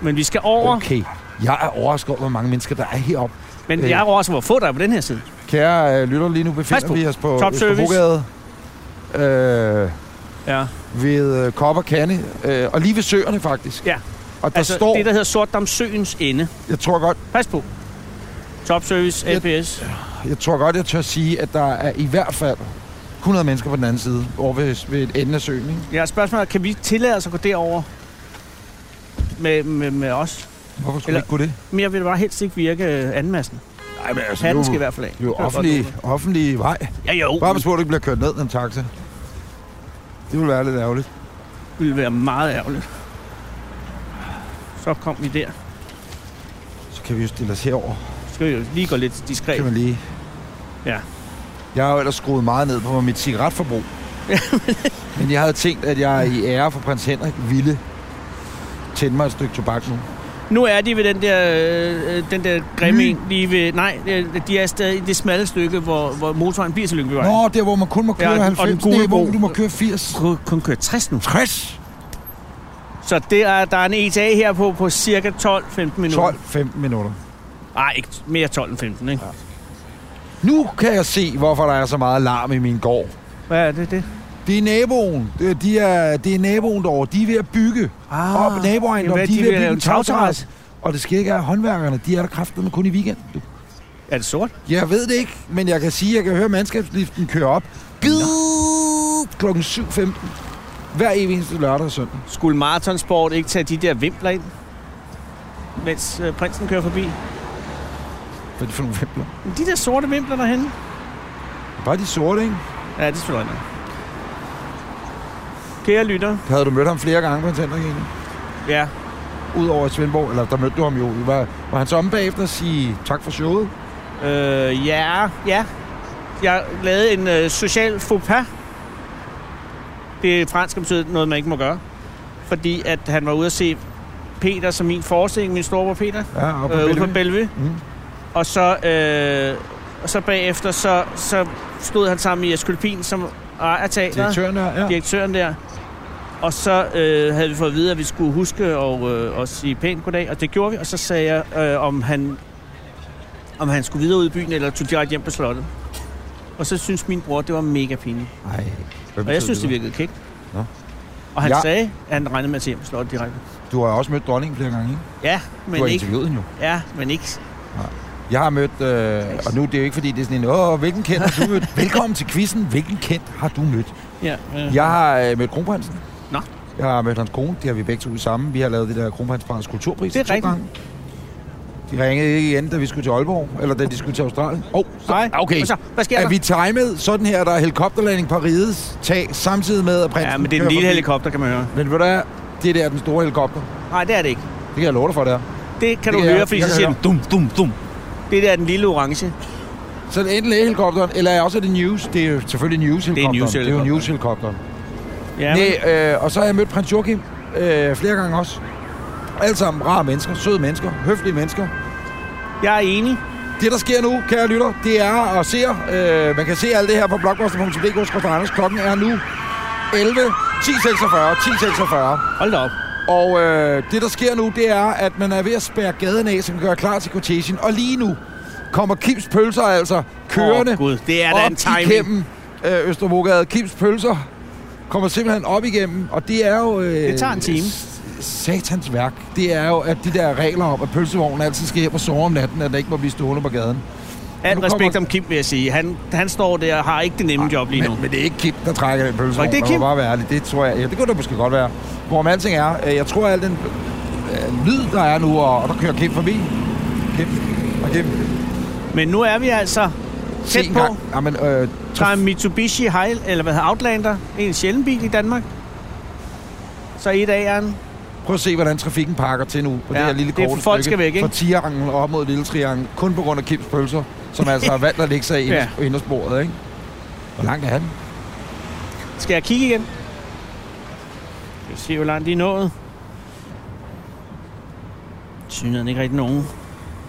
S3: Men vi skal over.
S2: Okay, jeg er overrasket over, hvor mange mennesker, der er heroppe.
S3: Men
S2: Øh.
S3: jeg er også, hvor få der er på den her side.
S2: Kære øh, lytter, lige nu befinder
S3: Pas på.
S2: vi os på
S3: Top
S2: Østerbrogade. Øh,
S3: Ja.
S2: ved øh, Kop og Kande, øh, og lige ved søerne faktisk.
S3: Ja.
S2: Og der
S3: Altså,
S2: står,
S3: det, der hedder Sortdamsøens ende.
S2: jeg tror godt,
S3: Pas på. Topservice,
S2: Jeg-
S3: APS.
S2: Jeg tror godt, jeg tør sige, at der er i hvert fald 100 mennesker på den anden side, over ved, ved enden af søen. Ikke?
S3: Jeg har et spørgsmål. Kan vi tillade os at gå derover med, med, med os?
S2: Hvorfor skulle Eller...
S3: Eller-
S2: ikke gå det?
S3: Mere vil det bare helst ikke virke øh, anmassen.
S2: Nej, men altså,
S3: Hatten skal i hvert fald af.
S2: jo
S3: Det kan jeg godt
S2: offentlig,
S3: lide.
S2: offentlig vej.
S3: Ja, jo.
S2: Bare pas på, at du ikke bliver kørt ned af en taxa. Det ville være lidt ærgerligt.
S3: Det ville være meget ærgerligt. Så kom vi der.
S2: Så kan vi jo stille os herover.
S3: Så skal vi jo lige gå lidt diskret.
S2: Kan man lige...
S3: Ja.
S2: Jeg har jo ellers skruet meget ned på mit cigaretforbrug. men jeg havde tænkt, at jeg i ære for prins Henrik ville tænde mig et stykke tobak nu.
S3: Nu er de ved den der, øh, øh, den der grimme
S2: Ny.
S3: en, lige ved... Nej, øh, de er stadig i det smalle stykke, hvor, hvor motorvejen bliver til Lyngbyvej.
S2: Nå, der hvor man kun må køre
S3: Ja, og den
S2: 90, det
S3: gule
S2: er, hvor
S3: bro.
S2: du må køre 80.
S3: Kun, kun køre 60 nu.
S2: 60!
S3: Så det er, der er en ETA her på, på cirka 12-15 minutter.
S2: 12-15 minutter.
S3: Nej, ikke mere 12 end 15, ikke? Ja.
S2: Nu kan jeg se, hvorfor der er så meget larm i min gård.
S3: Hvad er det, det?
S2: Det er naboen. Det er, de er, det er naboen derovre. De er ved at bygge ah, op naboen.
S3: jamen, hvad,
S2: de er ved at bygge
S3: lave
S2: en tagterrasse. Og det skal ikke er, at håndværkerne, de er der kraftedeme kun i weekenden. du.
S3: Er det sort?
S2: Jeg ved det ikke, men jeg kan sige, at jeg kan høre mandskabsliften køre op. Bid! Klokken 7.15. Hver evig eneste lørdag og søndag.
S3: Skulle maratonsport ikke tage de der vimpler ind, mens øh, prinsen kører forbi?
S2: Hvad er det for nogle vimpler?
S3: Men de der sorte vimpler derhen.
S2: Bare de sorte, ikke?
S3: Ja, det er selvfølgelig rigtigt. Kære lytter.
S2: Havde du mødt ham flere gange på en tændring egentlig?
S3: Ja.
S2: Udover i Svendborg, eller der mødte du ham jo. Var, var han så om bagefter og sige tak for showet?
S3: Øh, ja, ja. Jeg lavede en øh, social faux pas. Det franske betyder noget, man ikke må gøre. Fordi at han var ude at se Peter som min forestilling, min storebror Peter,
S2: Ja, og på
S3: øh, ude på
S2: Bellevue.
S3: Bellevue.
S2: Mm.
S3: Og så, øh, og så bagefter, så, så stod han sammen med Jes Kølpin, som ejer teateret,
S2: Direktøren er, ja.
S3: direktøren der. Og så øh, havde vi fået at vide, at vi skulle huske at, øh, at sige pænt goddag, og det gjorde vi. Og så sagde jeg, øh, om, han, om han skulle videre ud i byen, eller tog direkte hjem på slottet. Og så synes min bror, det var mega pinligt.
S2: Ej,
S3: Og jeg synes, det virkede kægt.
S2: Nå.
S3: Og han
S2: Ja.
S3: ja. sagde, at han regnede med at tage hjem på slottet direkte.
S2: Du har også mødt dronningen flere gange, ikke?
S3: Ja,
S2: du
S3: men
S2: har
S3: ikke,
S2: interviewet hende jo.
S3: ja, men ikke.
S2: Jeg har mødt, øh, og nu er det jo ikke, fordi det er sådan en, åh, hvilken kendt har du mødt? Velkommen til quizzen, hvilken kendt har du mødt?
S3: Ja, øh.
S2: Jeg har øh, mødt kronprinsen.
S3: Nå.
S2: Jeg har mødt hans kone, det har vi begge to sammen. Vi har lavet det der kronprinspars kulturpris
S3: Det er
S2: to
S3: rigtigt.
S2: gange. De ringede ikke igen, da vi skulle til Aalborg, eller da de skulle til Australien. Åh, oh,
S3: Nej.
S2: okay.
S3: Og så, hvad sker
S2: er
S3: der?
S2: vi timet sådan her, der er helikopterlanding på rigets tag, samtidig med, at prinsen
S3: Ja, men det er
S2: kører
S3: en lille
S2: forbi?
S3: helikopter, kan man høre.
S2: Men ved du hvad? Det der er den store helikopter.
S3: Nej, det er det ikke.
S2: Det kan jeg love dig for, det er.
S3: Det kan
S2: Det
S3: det du
S2: er-
S3: høre, fordi
S2: jeg
S3: så
S2: kan
S3: siger
S2: høre.
S3: den dum, dum, dum. Det der er den lille orange.
S2: Så er det enten lægehelikopteren, eller er også det news? Det er jo selvfølgelig news-helikopteren. Det er jo
S3: news-helikopteren.
S2: news-helikopteren.
S3: Ja, men,
S2: Næ, øh, og så har jeg mødt prins Joachim øh, flere gange også. Alle sammen rare mennesker, søde mennesker, høflige mennesker.
S3: jeg er enig.
S2: Det, der sker nu, kære lytter, det er at se, øh, man kan se alt det her på blogbuster.dk, Anders. Klokken er nu 11, 10.46, 10.46.
S3: Hold da op.
S2: Og øh, det, der sker nu, det er, at man er ved at spærre gaden af, som gør klar til cortesien. Og lige nu kommer Kims Pølser altså kørende
S3: Åh, Gud, det er da
S2: op
S3: en timing.
S2: igennem øh, Østerbrogade. Kims Pølser kommer simpelthen op igennem, og det er jo... Øh,
S3: Det tager en time.
S2: s- Satans værk, det er jo, at de der regler om, at pølsevognen altid skal hjem og sove om natten, at der ikke må blive stående på gaden.
S3: Al
S2: Nu kommer- Ah,
S3: respekt om Kim, vil jeg sige. Han, han står der og har ikke det nemme job lige nu.
S2: Men, men det er ikke Kim, der trækker den pølse.
S3: Tror ikke, det er
S2: Man
S3: Kim?
S2: må bare være ærlig. Det tror jeg. Ja, det kunne det måske godt være. Hvor man alting er, øh, jeg tror, at al den øh, lyd, der er nu, og, og der kører Kim forbi. Kim og Kim.
S3: Men nu er vi altså
S2: Se
S3: tæt
S2: en
S3: på.
S2: gang. Jamen, øh,
S3: Der er en Mitsubishi Heil, eller hvad hedder Outlander. En sjælden bil i Danmark. Så et af den.
S2: prøv at se, hvordan trafikken pakker til nu på ja,
S3: Ja,
S2: det her lille
S3: det er
S2: korte
S3: folk skal væk, ikke?
S2: Fra Trianglen og op mod Lille Triangel. Kun på grund af Kims pølser, som altså har valgt at lægge sig i
S3: Ja.
S2: ja. indersporet, ikke? Hvor langt er han?
S3: Skal jeg kigge igen? Vi se, hvor langt de er nået. Synes han ikke rigtig nogen.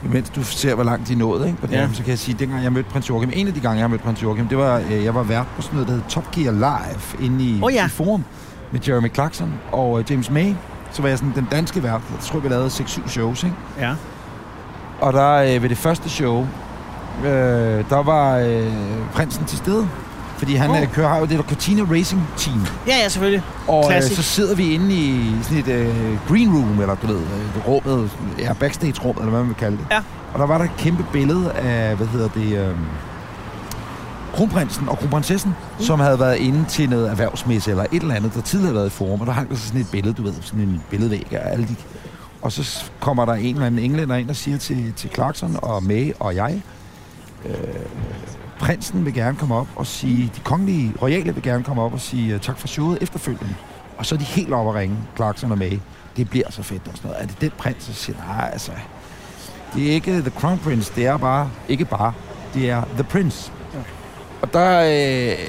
S2: Mens du ser, hvor langt de nåede, ikke? På det
S3: Ja.
S2: ja. så kan jeg sige, at dengang jeg mødte prins Joachim, en af de gange, jeg mødte prins Joachim, det var, øh, jeg var vært på sådan noget, der hed Top Gear Live, inde i,
S3: Åh ja.
S2: i Forum, med Jeremy Clarkson og øh, James May. Så var jeg sådan den danske vært, jeg tror, vi lavede 6-7 shows, ikke?
S3: Ja.
S2: Og der øh, ved det første show, øh, der var øh, prinsen til stede, fordi han
S3: Åh.
S2: oh. kører, har jo det der Cortina Racing Team.
S3: Ja, ja, selvfølgelig.
S2: Og øh,
S3: Classic.
S2: så sidder vi inde i sådan et øh, green room, eller du ved, øh, rummet, sådan- ja, backstage-rummet, eller hvad man vil kalde det.
S3: Ja.
S2: Og der var der et kæmpe billede af, hvad hedder det, øh, kronprinsen og kronprinsessen, mm. som havde været inde til noget erhvervsmesse, eller et eller andet, der tidligere havde været i forum, og der hang der så sådan et billede, du ved, sådan en billedvæg af alle de... Og så s- kommer der en eller anden englænder ind og siger til, til Clarkson og May og jeg, prinsen vil gerne komme op og sige, de kongelige royale vil gerne komme op og sige øh, tak for showet efterfølgende. Og så er de helt oppe at ringe, Clarkson og May. Det bliver så fedt og sådan noget. Er det den prins, der siger, nej, altså, det er ikke The Crown Prince, det er bare, ikke bare, det er The Prince. Og der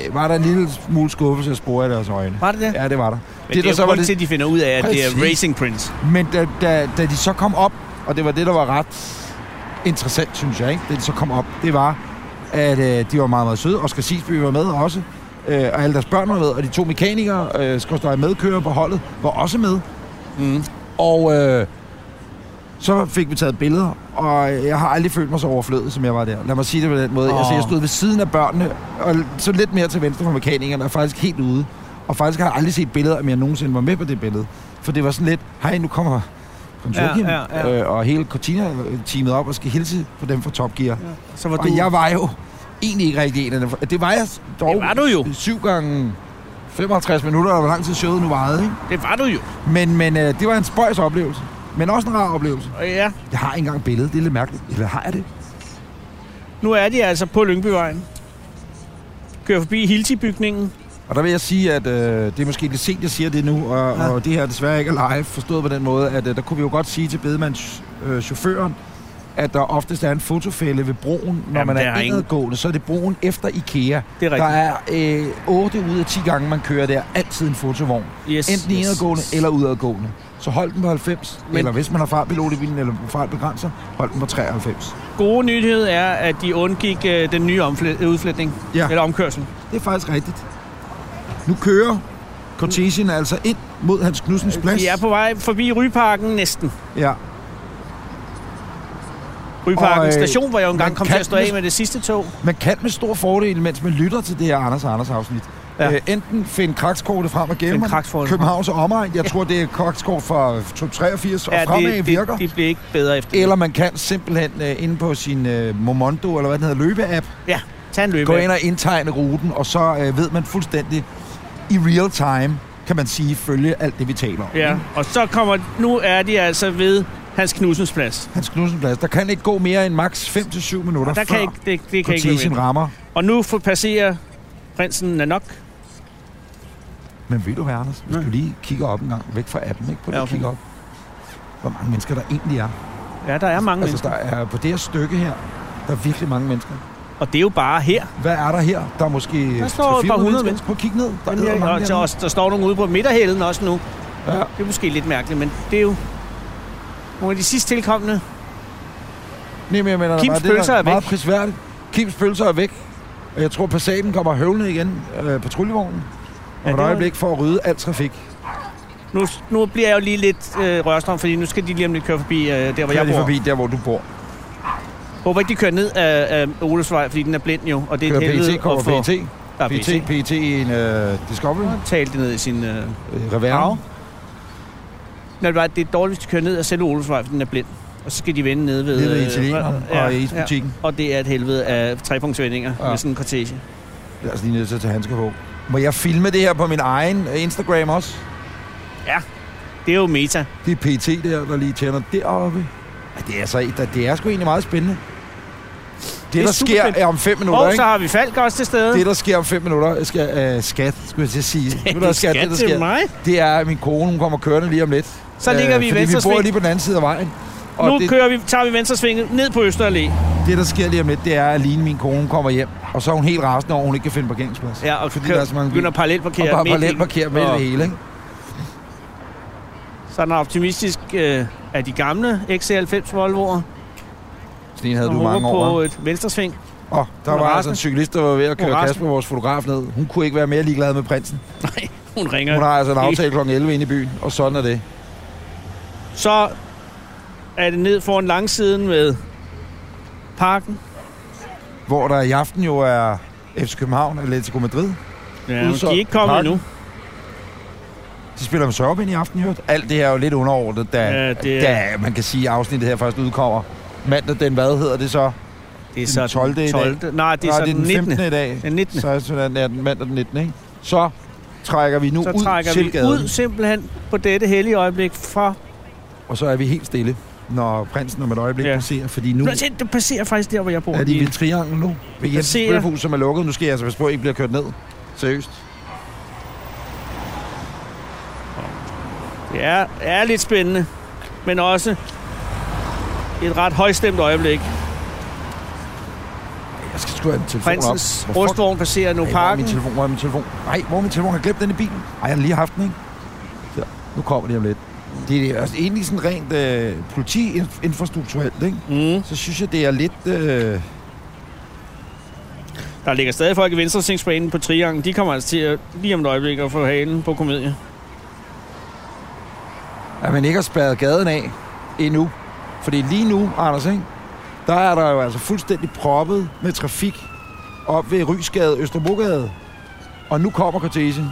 S2: øh, var der en lille smule skuffelse at spore i deres øjne.
S3: Var det det?
S2: Ja, det var der.
S3: Men det, det er
S2: der
S3: jo
S2: så
S3: så
S2: var
S3: kun det... til, at de finder ud af, at Præcis. det er
S2: Præcis.
S3: Racing Prince.
S2: Men da, da, da de så kom op, og det var det, der var ret interessant, synes jeg, ikke? da de så kom op, det var, at øh, de var meget, meget søde. Oscar Sisby var med også, øh, og alle deres børn var med, og de to mekanikere, øh, skorstøj medkører på holdet, var også med.
S3: Mm.
S2: Og øh, så fik vi taget billeder, og jeg har aldrig følt mig så overflødig, som jeg var der. Lad mig sige det på den måde. Oh. Altså,
S3: Åh.
S2: jeg stod ved siden af børnene, og så lidt mere til venstre for mekanikerne, og faktisk helt ude. Og faktisk har jeg aldrig set billeder, om jeg nogensinde var med på det billede. For det var sådan lidt, hej, nu kommer prins
S3: Ja,
S2: Joachim,
S3: ja, ja.
S2: Øh, og hele Cortina-teamet op og skal hilse på dem fra Top Gear.
S3: Så var
S2: Og
S3: du...
S2: jeg var jo egentlig ikke rigtig en af dem. Det var jeg dog
S3: Det var du jo.
S2: syv gange 55 minutter, eller hvor lang tid showet nu varede, ikke?
S3: Det var du jo.
S2: Men, men øh, det var en spøjs oplevelse. Men også en rar oplevelse.
S3: Og Ja.
S2: Jeg har ikke engang billedet. Det er lidt mærkeligt. Eller har jeg det?
S3: Nu er de altså på Lyngbyvejen. Kører forbi Hilti-bygningen.
S2: Og der vil jeg sige, at øh, det er måske lidt sent, jeg siger det nu, og, ja. og det her er desværre ikke er live, forstået på den måde, at øh, der kunne vi jo godt sige til bedemands øh, chaufføren, at der oftest er en fotofælde ved broen, når
S3: Jamen,
S2: man
S3: der
S2: er
S3: er ingen.
S2: indadgående, så er det broen efter IKEA.
S3: Det er
S2: Der
S3: rigtigt.
S2: er øh, 8 ud af 10 gange, man kører der, altid en fotovogn.
S3: Yes,
S2: Enten yes, indadgående yes. eller udadgående. Så hold den på 90,
S3: Men-
S2: Men... eller hvis man har fartpilot i bilen, eller fartbegrænser, hold den på 93.
S3: Gode nyhed er, at de undgik øh, den nye omflæ- udflætning.
S2: Ja.
S3: Eller omkørsel.
S2: Det er faktisk rigtigt. Nu kører Cortesien altså ind mod Hans Knudsens plads.
S3: Øh, De er på vej forbi Ryparken næsten.
S2: Ja,
S3: Ryparken
S2: Og, øh,
S3: station, hvor jeg jo engang
S2: man
S3: kom til
S2: kan
S3: at stå af
S2: vist-
S3: med det sidste tog.
S2: man kan med stor fordel, mens man lytter til det her Anders og Anders afsnit,
S3: Ja.
S2: ja. øh, enten finde krakskortet frem og
S3: Finde
S2: gemme
S3: krakskortet frem.
S2: Københavns og omegn. Jeg tror, det er krakskort fra 83 og fremad
S3: det,
S2: virker.
S3: det, det bliver ikke bedre efter det.
S2: Eller man kan simpelthen øh, inde på sin øh, Momondo, eller hvad den hedder, løbeapp,
S3: Ja, tag en løbe.
S2: gå ind og indtegne ruten, og så øh, ved man fuldstændig i real time, kan man sige, følge alt det, vi taler om.
S3: Ja, og så kommer... Nu er de altså ved Hans Knudsens plads.
S2: Hans Knudsen plads. Der kan ikke gå mere end maks 5-7 minutter,
S3: Der
S2: før
S3: kan ikke, det, det kan ikke være
S2: cortisen
S3: med.
S2: rammer.
S3: Og nu får- passerer prinsen Nanok.
S2: Men ved du hvad, Anders? Hvis
S3: Nej.
S2: du lige kigger op en gang, væk fra appen, ikke? Prøv lige
S3: Ja,
S2: ja, okay. at
S3: okay.
S2: kigge op. Hvor mange mennesker der egentlig er.
S3: Ja, der er mange
S2: Altså,
S3: altså,
S2: der er på det her stykke her, der er virkelig mange mennesker.
S3: mennesker. Og det er jo bare her.
S2: Hvad er der her? Der er måske
S3: Der står et par
S2: 300-400
S3: hundrede
S2: Prøv at kigge ned. Der
S3: Jamen,
S2: er
S3: jeg, og,
S2: mange
S3: til os, der står nogen ude på midterhælden også nu.
S2: Ja.
S3: Det er måske lidt mærkeligt, men det er jo nogle af de sidste tilkommende.
S2: Nej, men jeg mener, der
S3: Kims
S2: bare, det, der
S3: pølser er væk.
S2: meget prisværdigt. Kims pølser er væk. Og jeg tror, Passaten kommer høvlende igen øh, patruljevognen.
S3: Ja,
S2: Ja, om
S3: det
S2: et
S3: var-
S2: øjeblik for at rydde alt trafik.
S3: Nu, nu bliver jeg jo lige lidt øh, rørstrøm, fordi nu skal de lige om lidt køre forbi øh, der, hvor
S2: Kør
S3: jeg
S2: lige
S3: bor. Forbi.
S2: forbi der, hvor du bor.
S3: Håber ikke, de kører ned af, af Olesvej, fordi den er blind jo, og det er
S2: Kører
S3: et helvede
S2: PT, kommer
S3: at få...
S2: PT.
S3: Der er
S2: PT,
S3: PT.
S2: PT i en øh, Discovery.
S3: Tal det ned i sin... Øh,
S2: Øh,
S3: Au.
S2: Reveren.
S3: Nå, det var- det er dårligt, at køre ned ad selve Olesvej, for den er blind. Og så skal de vende nede ved...
S2: Nede ved
S3: øh,
S2: italieneren
S3: ja,
S2: og i
S3: ja.
S2: isbutikken.
S3: Og det er et helvede af trepunktsvendinger ja.
S2: Ja.
S3: med sådan en kortege.
S2: Jeg er altså lige nødt til at tage handsker på. Må jeg filme det her på min egen øh, Instagram også?
S3: Det er jo meta.
S2: Det er PT der, der lige tænder deroppe. Ej, Det er, så, det er sgu egentlig meget spændende. Det, det
S3: er
S2: der sker
S3: superspændende.
S2: er om fem minutter,
S3: Og
S2: ikke?
S3: så har vi Falk også til stede.
S2: Det, der sker om fem minutter, skal, øh, skat, skulle jeg til at sige. Det, der skat, det, der
S3: til
S2: sker,
S3: mig.
S2: det er, at min kone hun kommer kørende lige om lidt. Øh,
S3: Så ligger vi i
S2: fordi vi bor
S3: Venstresving.
S2: lige på den anden side af vejen. Og
S3: nu
S2: det,
S3: kører vi, tager vi venstresvinget ned på Østerallé.
S2: det, der sker lige om lidt, det er, at Line, min kone, kommer hjem. Og så er hun helt rasende over, at hun ikke kan finde parkeringsplads.
S3: Ja, og
S2: Fordi
S3: kører,
S2: der er så mange biler.
S3: begynder at parallelparkere.
S2: og bare
S3: midt i den.
S2: parallelt parkerer med
S3: Og
S2: det hele, ikke?
S3: Sådan er optimistisk øh, af de gamle XC90 Volvoer.
S2: Sådan en havde
S3: og
S2: du
S3: håber
S2: mange
S3: på
S2: år, hva'?
S3: et venstresving.
S2: Åh, der
S3: Hun er
S2: var altså
S3: rasende.
S2: en cyklist, der var ved at
S3: Hun er
S2: køre
S3: rasende.
S2: Kasper, vores fotograf, ned. Hun kunne ikke være mere ligeglad med prinsen.
S3: Nej, hun ringer.
S2: Hun har altså en
S3: Det-
S2: aftale kl. 11 inde i byen, og sådan er det.
S3: Så er det ned foran langsiden med parken.
S2: Hvor der i aften jo er FC København og Atletico Madrid.
S3: Ja, men de
S2: Udsolgt
S3: er ikke kommet
S2: parken.
S3: endnu.
S2: De spiller med Sørben i aften, jo. Alt det her er jo lidt underordnet, da,
S3: Ja,
S2: ja,
S3: det
S2: det
S3: er-
S2: da man kan sige, at afsnittet her først udkommer. Mandag den, hvad hedder det så?
S3: Det
S2: Den
S3: er så
S2: 12. i dag.
S3: Nej, det er
S2: Nej,
S3: så
S2: det er
S3: den 19.
S2: 15. i dag.
S3: Den 19.
S2: Så er det sådan, ja, den mandag den 19, ikke? Så trækker vi nu
S3: Så
S2: ud
S3: trækker
S2: til
S3: vi
S2: gaden,
S3: ud simpelthen på dette hellige øjeblik fra...
S2: og så er vi helt stille, når prinsen om et øjeblik
S3: Ja.
S2: ja. passerer, fordi nu
S3: Nå, se, Det passerer faktisk der, hvor jeg bor.
S2: er de i
S3: lige.
S2: Vilde Triangel nu. Ved Jensens
S3: Passerer.
S2: Bøfhus, som er lukket. Nu skal jeg altså passe på, at I ikke bliver kørt ned. Seriøst.
S3: Det er, er lidt spændende, men også et ret højstemt øjeblik.
S2: Jeg skal sgu have min telefon
S3: Prinsens
S2: op. Hvor fuck-
S3: rustvogn passerer nu
S2: Ej, Hvor er
S3: parken.
S2: min telefon? Hvor er min telefon? Nej, hvor er min telefon? Jeg har glemt den i bilen. Ej, jeg har lige haft den, ikke? Der. Nu kommer de om lidt. Det er altså egentlig sådan rent øh, politi-infrastrukturelt, ikke?
S3: Mm.
S2: Så synes jeg, det er lidt... Øh,
S3: Der ligger stadig folk i Venstresingsbanen på Triangen. De kommer altså til at, lige om et øjeblik at få halen på komedie.
S2: at man ikke har spærret gaden af endnu. Fordi lige nu, Anders, ikke? der er der jo altså fuldstændig proppet med trafik op ved Rysgade, Østerbrogade. Og nu kommer kortesen.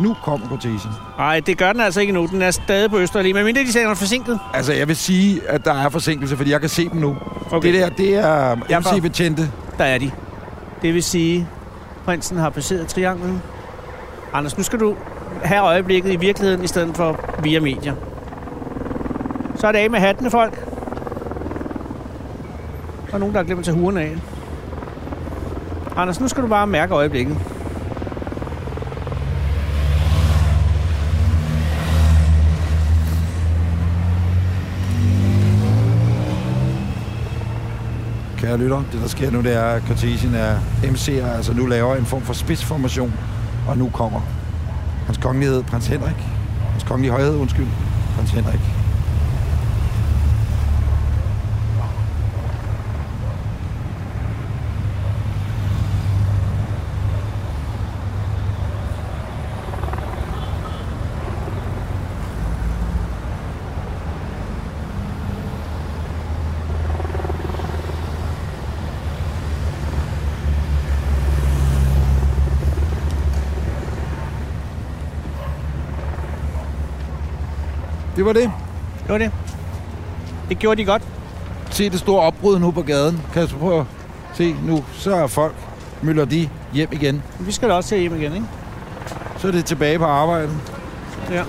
S2: Nu kommer kortesen.
S3: Nej, det gør den altså ikke endnu. Den er stadig på Østerlig, medmindre de siger, den er forsinket.
S2: Altså, jeg vil sige, at der er forsinkelse, fordi jeg kan se dem nu. Okay. Det der, det er
S3: Jeg var-
S2: MC-betjente.
S3: Der er de. Det vil sige, prinsen har passeret trianglen. Anders, nu skal du have øjeblikket i virkeligheden, i stedet for via medier. Så er det af med hattene, folk. Der er nogen, der har glemt at tage huren af. Anders, nu skal du bare mærke øjeblikket.
S2: Kære lytter, det der sker nu, det er, at Cortesien er MC'er, altså nu laver en form for spidsformation, og nu kommer hans kongelighed, prins Henrik. Hans kongelige højhed, undskyld, prins Henrik. Det var det.
S3: Det var det. Det gjorde de godt.
S2: Se det store opbrud nu på gaden. Kasper, prøv at se nu. Så er folk, mylder de hjem igen.
S3: Vi skal da også til hjem igen, ikke?
S2: Så er det tilbage på arbejdet.
S3: Ja.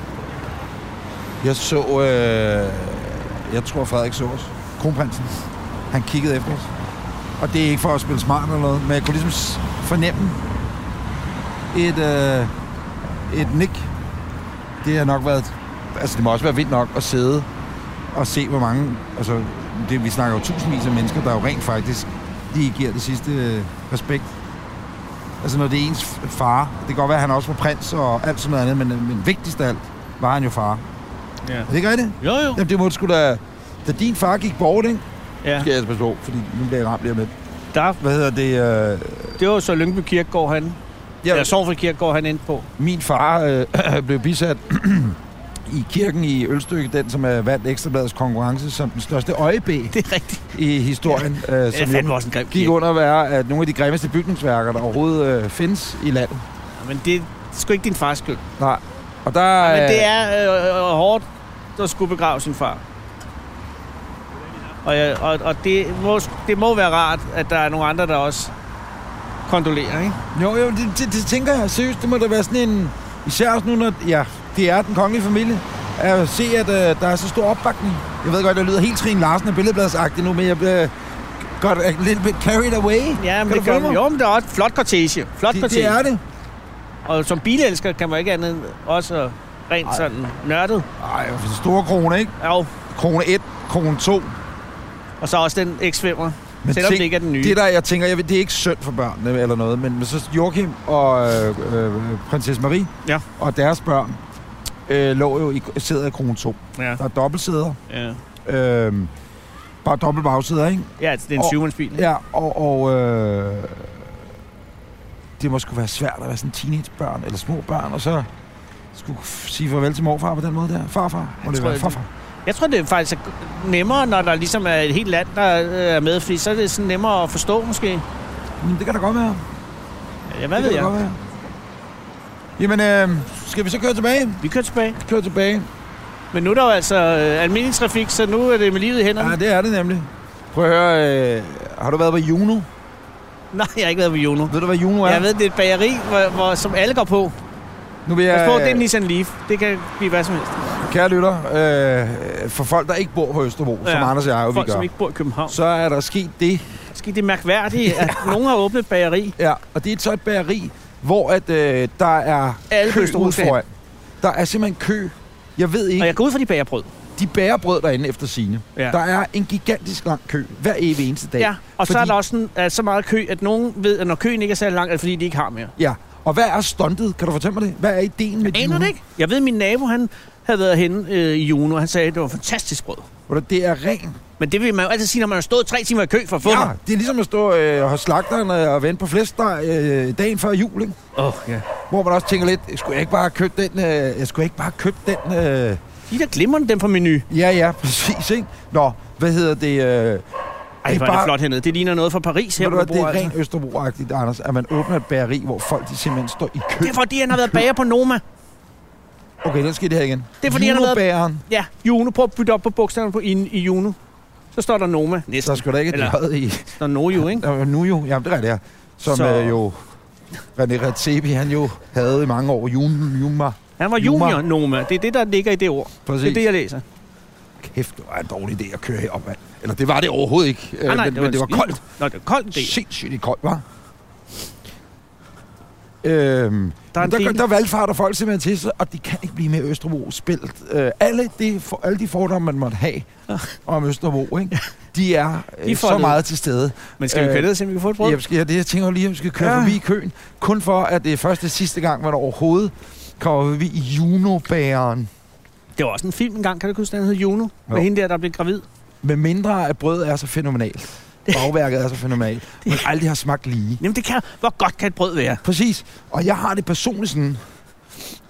S2: Jeg så, øh,
S6: Jeg tror, Frederik så os.
S2: Kronprinsen. Han kiggede efter os. Og det er ikke for at spille smart eller noget, men jeg kunne ligesom s- fornemme et, øh, et nik. Det har nok været... Altså, det må også være vildt nok at sidde og se, hvor mange... Altså, det, vi snakker jo tusindvis af mennesker, der jo rent faktisk lige giver det sidste øh, respekt. Altså, når det er ens f- far... Det kan godt være, at han også var prins og alt sådan noget andet, men, men vigtigst af alt var han jo far.
S3: Ja.
S2: Er det ikke rigtigt?
S3: Jo, jo.
S2: Jamen, det må du sgu da... Da din far gik bort, ikke?
S3: Ja.
S2: Skal jeg altså passe på, fordi nu bliver jeg ramt lige om lidt.
S3: Der,
S2: Hvad hedder det? Øh,
S3: det var så Lyngby Kirkegård, han...
S2: Ja.
S3: Ja, Sovfri Kirkegård, han endte på.
S2: min far øh, blev bisat i kirken i Ølstykke, den som er vandt Ekstrabladets konkurrence som den største øjebæ
S3: Det er rigtigt.
S2: i historien. Ja. Øh,
S3: Det er
S2: som jo
S3: fandme også en grim
S2: gik
S3: kirke.
S2: under at være at nogle af de grimmeste bygningsværker, der overhovedet øh, findes i landet.
S3: Men det er sgu ikke din fars skyld.
S2: Nej. Og der...
S3: Men det er øh, øh, hårdt at skulle begrave sin far. Og, jeg, og, og det, må, det må være rart, at der er nogle andre, der også kondolerer, ikke?
S2: Jo, jo, det, det, det tænker jeg seriøst. Det må da være sådan en... Især også nu, når ja, det er den kongelige familie. At se, at øh, der er så stor opbakning. Jeg ved godt, det lyder helt Trine Larsen og billedbladsagtigt nu, men jeg bliver godt a little bit carried away.
S3: Ja,
S2: Kan
S3: men
S2: du
S3: det gør
S2: følge
S3: man.
S2: mig?
S3: Jo, men der er også et flot kortege. Flot
S2: Det,
S3: kortege.
S2: det er det.
S3: Og som bilelsker kan man ikke andet end også at rent Ej. sådan nørdet.
S2: Ej, for store krone, ikke?
S3: Jo.
S2: Krone 1, krone 2.
S3: Og så også den X5'er.
S2: Men
S3: Selvom
S2: tænk-
S3: det ikke er den nye.
S2: Det der, jeg tænker, jeg ved, det er ikke synd for børnene eller noget, men, men så Joachim og øh, øh, prinsesse Marie
S3: Ja.
S2: og deres børn øh, lå jo i sæder i krone 2.
S3: Ja,
S2: Der er dobbeltsæder.
S3: ja.
S2: Øh, bare dobbelt bagsæder, ikke?
S3: ja altså, det er
S2: Og-
S3: en syvmandsbil. ikke?
S2: Ja, og, og øh, det må sgu være svært at være sådan teenagebørn eller små børn, og så skulle f- sige farvel til morfar på den måde der. Farfar, må det
S3: tror,
S2: være
S3: det-
S2: farfar.
S3: Jeg tror, det er faktisk er nemmere, når der ligesom er et helt land, der øh, er med, fordi så er det sådan nemmere at forstå, måske.
S2: Jamen, det kan da godt være.
S3: Ja, hvad
S2: det
S3: ved
S2: kan da
S3: jeg?
S2: godt være. Jamen, øh, skal vi så køre tilbage?
S3: Vi kører tilbage.
S2: Køre tilbage.
S3: Men nu er der jo altså øh, almindelig trafik, så nu er det med livet i hænderne.
S2: Ja, det er det nemlig. Prøv at høre, øh, har du været på Juno?
S3: Nej, jeg har ikke været på Juno.
S2: Ved du, hvad Juno er?
S3: Jeg ved, det er et bageri, hvor, hvor, som alle går på.
S2: Nu vil jeg,
S3: Pas på, det er en Nissan Leaf. Det kan blive hvad som helst.
S2: kære lytter, øh, for folk, der ikke bor på Østerbro, ja. som
S3: Ja.
S2: Anders og jeg jo, vi
S3: Folk,
S2: gør,
S3: som ikke bor i København.
S2: så er der sket det,
S3: Skal det er mærkværdigt, at nogen har åbnet et bageri?
S2: Ja, og det er så et bageri, hvor at, øh, der er
S3: Alle
S2: kø
S3: Østerbro
S2: ude
S3: skal
S2: foran. Der er simpelthen kø. Jeg ved ikke,
S3: Og jeg går ud fra de bagerbrød.
S2: de bærer brød derinde efter sine.
S3: Ja.
S2: Der er en gigantisk lang kø hver evig eneste dag.
S3: Ja, og så er
S2: Fordi-
S3: der også sådan, er så meget kø, at nogen ved, at når køen ikke er særlig lang, er det fordi, de ikke har mere.
S2: Ja. Og hvad er stuntet? Kan du fortælle mig det? Hvad er ideen med
S3: Aner det ikke? Jeg ved, at min nabo, han havde været henne øh, i Juno, og han sagde, at det var fantastisk brød.
S2: Hvor det er ren.
S3: Men det vil man jo altid sige, når man har stået tre timer i kø for at få
S2: Ja,
S3: den.
S2: det er ligesom at stå øh, hos slagteren øh, og vente på flæskesteg øh, dagen før jul, ikke?
S3: Åh, oh, ja.
S2: Hvor man også tænker lidt, skulle jeg ikke bare købe den, øh, jeg skulle ikke bare købe den... Øh,
S3: De der glimrende dem fra menu.
S2: ja, ja, præcis, ikke? Nå, hvad hedder det... Øh,
S3: Ej, hvor er det flot hernede. Det ligner noget fra Paris
S2: Ved
S3: her,
S2: du
S3: hvor
S2: hvad,
S3: du
S2: det
S3: bor,
S2: er rent
S3: altså.
S2: Østerbro-agtigt, Anders, at man åbner et bageri, hvor folk de simpelthen står i kø.
S3: Det er fordi, han har været bager på Noma.
S2: Okay, den skal det her igen.
S3: Det er fordi, han har været-
S2: Julebageren.
S3: Ja, Juno. Prøv at bytte op på bogstaverne på, i, i Juno. Så står der Noma. Næsten.
S2: Der
S3: Der
S2: skulle da ikke
S3: Eller-
S2: et J i.
S3: står Nojo, ikke?
S2: Der var nu jo, jamen det er det her. Som
S3: Så-
S2: så... øh, jo René Redzepi, han jo havde i mange år. Jun, Juma.
S3: Han var
S2: Juma.
S3: junior Noma. Det er det, der ligger i det ord.
S2: Præcis.
S3: Det er det, jeg læser.
S2: Kæft, det var en dårlig idé at køre herop, mand. Eller det var det overhovedet ikke. Øh,
S3: Ah, nej,
S2: men, men det var
S3: en skide-
S2: koldt.
S3: Nå, det var koldt en del.
S2: Sindssygt i koldt, var. Øhm, der,
S3: Der er
S2: er
S3: en
S2: der,
S3: del-
S2: der valgfarter folk simpelthen til sig, og det kan ikke blive mere Østerbro spillet. Øh, alle, de, for, alle de fordomme, man måtte have om Østerbro, ikke? de er, øh,
S3: De er
S2: så
S3: foldet.
S2: meget til stede.
S3: Men skal vi
S2: Øh,
S3: køre ned, og se, om vi kan få et brød?
S2: Jeg, skal, jeg, det- jeg tænker jo lige, om vi skal køre
S3: Ja.
S2: ja. forbi køen, kun for, at det er første sidste gang, man overhovedet kommer forbi Junobæren.
S3: Det var også en film engang, kan du ikke huske, den hed Juno? Med
S2: Jo.
S3: hende der, der blev gravid.
S2: Med mindre, at brødet er så fænomenalt. Bagværket er så fænomenalt. Man aldrig har smagt lige.
S3: Jamen, det kan, hvor godt kan et brød være?
S2: Præcis. Og jeg har det personligt sådan,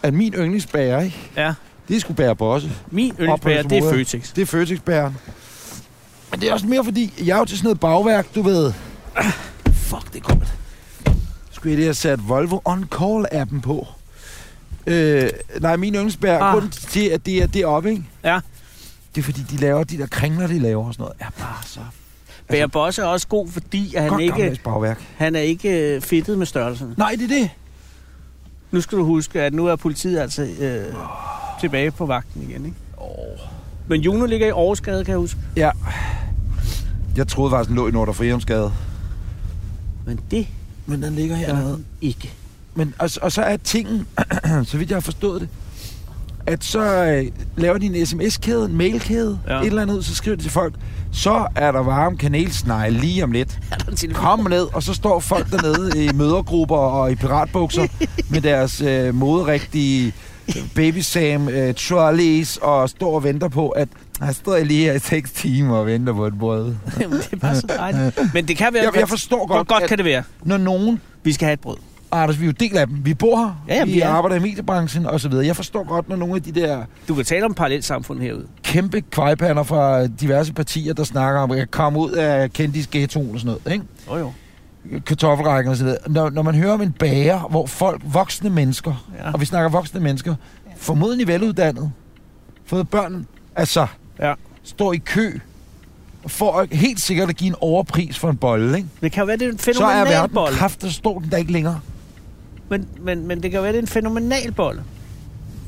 S2: at min yndlingsbager, ikke?
S3: Ja.
S2: Det skulle bære bosse.
S3: Min yndlingsbager, det er
S2: Oplevelsesmode.
S3: Føtex.
S2: Det er Føtexbæren. Men det er også mere fordi, jeg er jo til sådan noget bagværk, du ved. Ah, Fuck, det er koldt. Skulle jeg lige have sat Volvo On Call-appen på? Øh, nej, min yndlingsbær,
S3: Ah.
S2: ah. grunden til, at det er deroppe, ikke?
S3: Ja.
S2: Det er fordi, de laver de der kringler, de laver og sådan noget. Er bare så
S3: Bager Bosse er også god, fordi at han,
S2: Altså- godt
S3: ikke,
S2: gammeldags bagværk.
S3: han er ikke øh, fedtet med størrelsen.
S2: Nej, det er det.
S3: Nu skal du huske, at nu er politiet altså øh, tilbage på vagten igen, ikke? Men Juno ligger i Aarhusgade, kan jeg huske.
S7: Ja. Jeg troede faktisk, den lå i Nordre Frihedsgade.
S3: Men det
S7: Men den ligger
S3: gør den ikke.
S2: Men, og, og så er tingen, så vidt jeg har forstået det, at så øh, laver de en sms-kæde, en mail-kæde,
S3: Ja.
S2: ja. et eller andet, ud, så skriver de til folk, så er der varme kanelsnegle lige om lidt.
S3: Er der en telefon?
S2: Kom ned, og så står folk dernede i mødergrupper og i piratbukser med deres øh, moderigtige Baby Sam øh, trolleys og står og venter på, at jeg står lige her i 6 timer og venter på et brød.
S3: Jamen, det er bare så dejligt. Men det kan være...
S2: Jeg, jeg forstår
S3: Hvor
S2: godt,
S3: godt
S2: at,
S3: kan det være?
S2: når nogen
S3: Vi skal have et brød.
S2: Anders, vi er jo del af dem. Vi bor her.
S3: Ja, ja,
S2: vi
S3: vi er.
S2: arbejder i mediebranchen og så videre. Jeg forstår godt, når nogle af de der
S3: Du kan tale om parallelsamfund herude.
S2: kæmpe kvejpander fra diverse partier, der snakker om at komme ud af kendis ghettoen og sådan noget, ikke?
S3: Jo, jo.
S2: kartoffelrækken og så videre. Når, når man hører om en bager, hvor folk, voksne mennesker,
S3: Ja.
S2: ja. og vi snakker voksne mennesker, formodentlig veluddannet, fået børn, altså,
S3: Ja.
S2: står i kø, for helt sikkert at give en overpris for en bolle, ikke?
S3: Det kan jo være, det er en
S2: Så er
S3: fænomenal
S2: verden
S3: bolle.
S2: kraft, der står den der ikke længere.
S3: Men, men, men det kan jo være, det er en fænomenal bolle.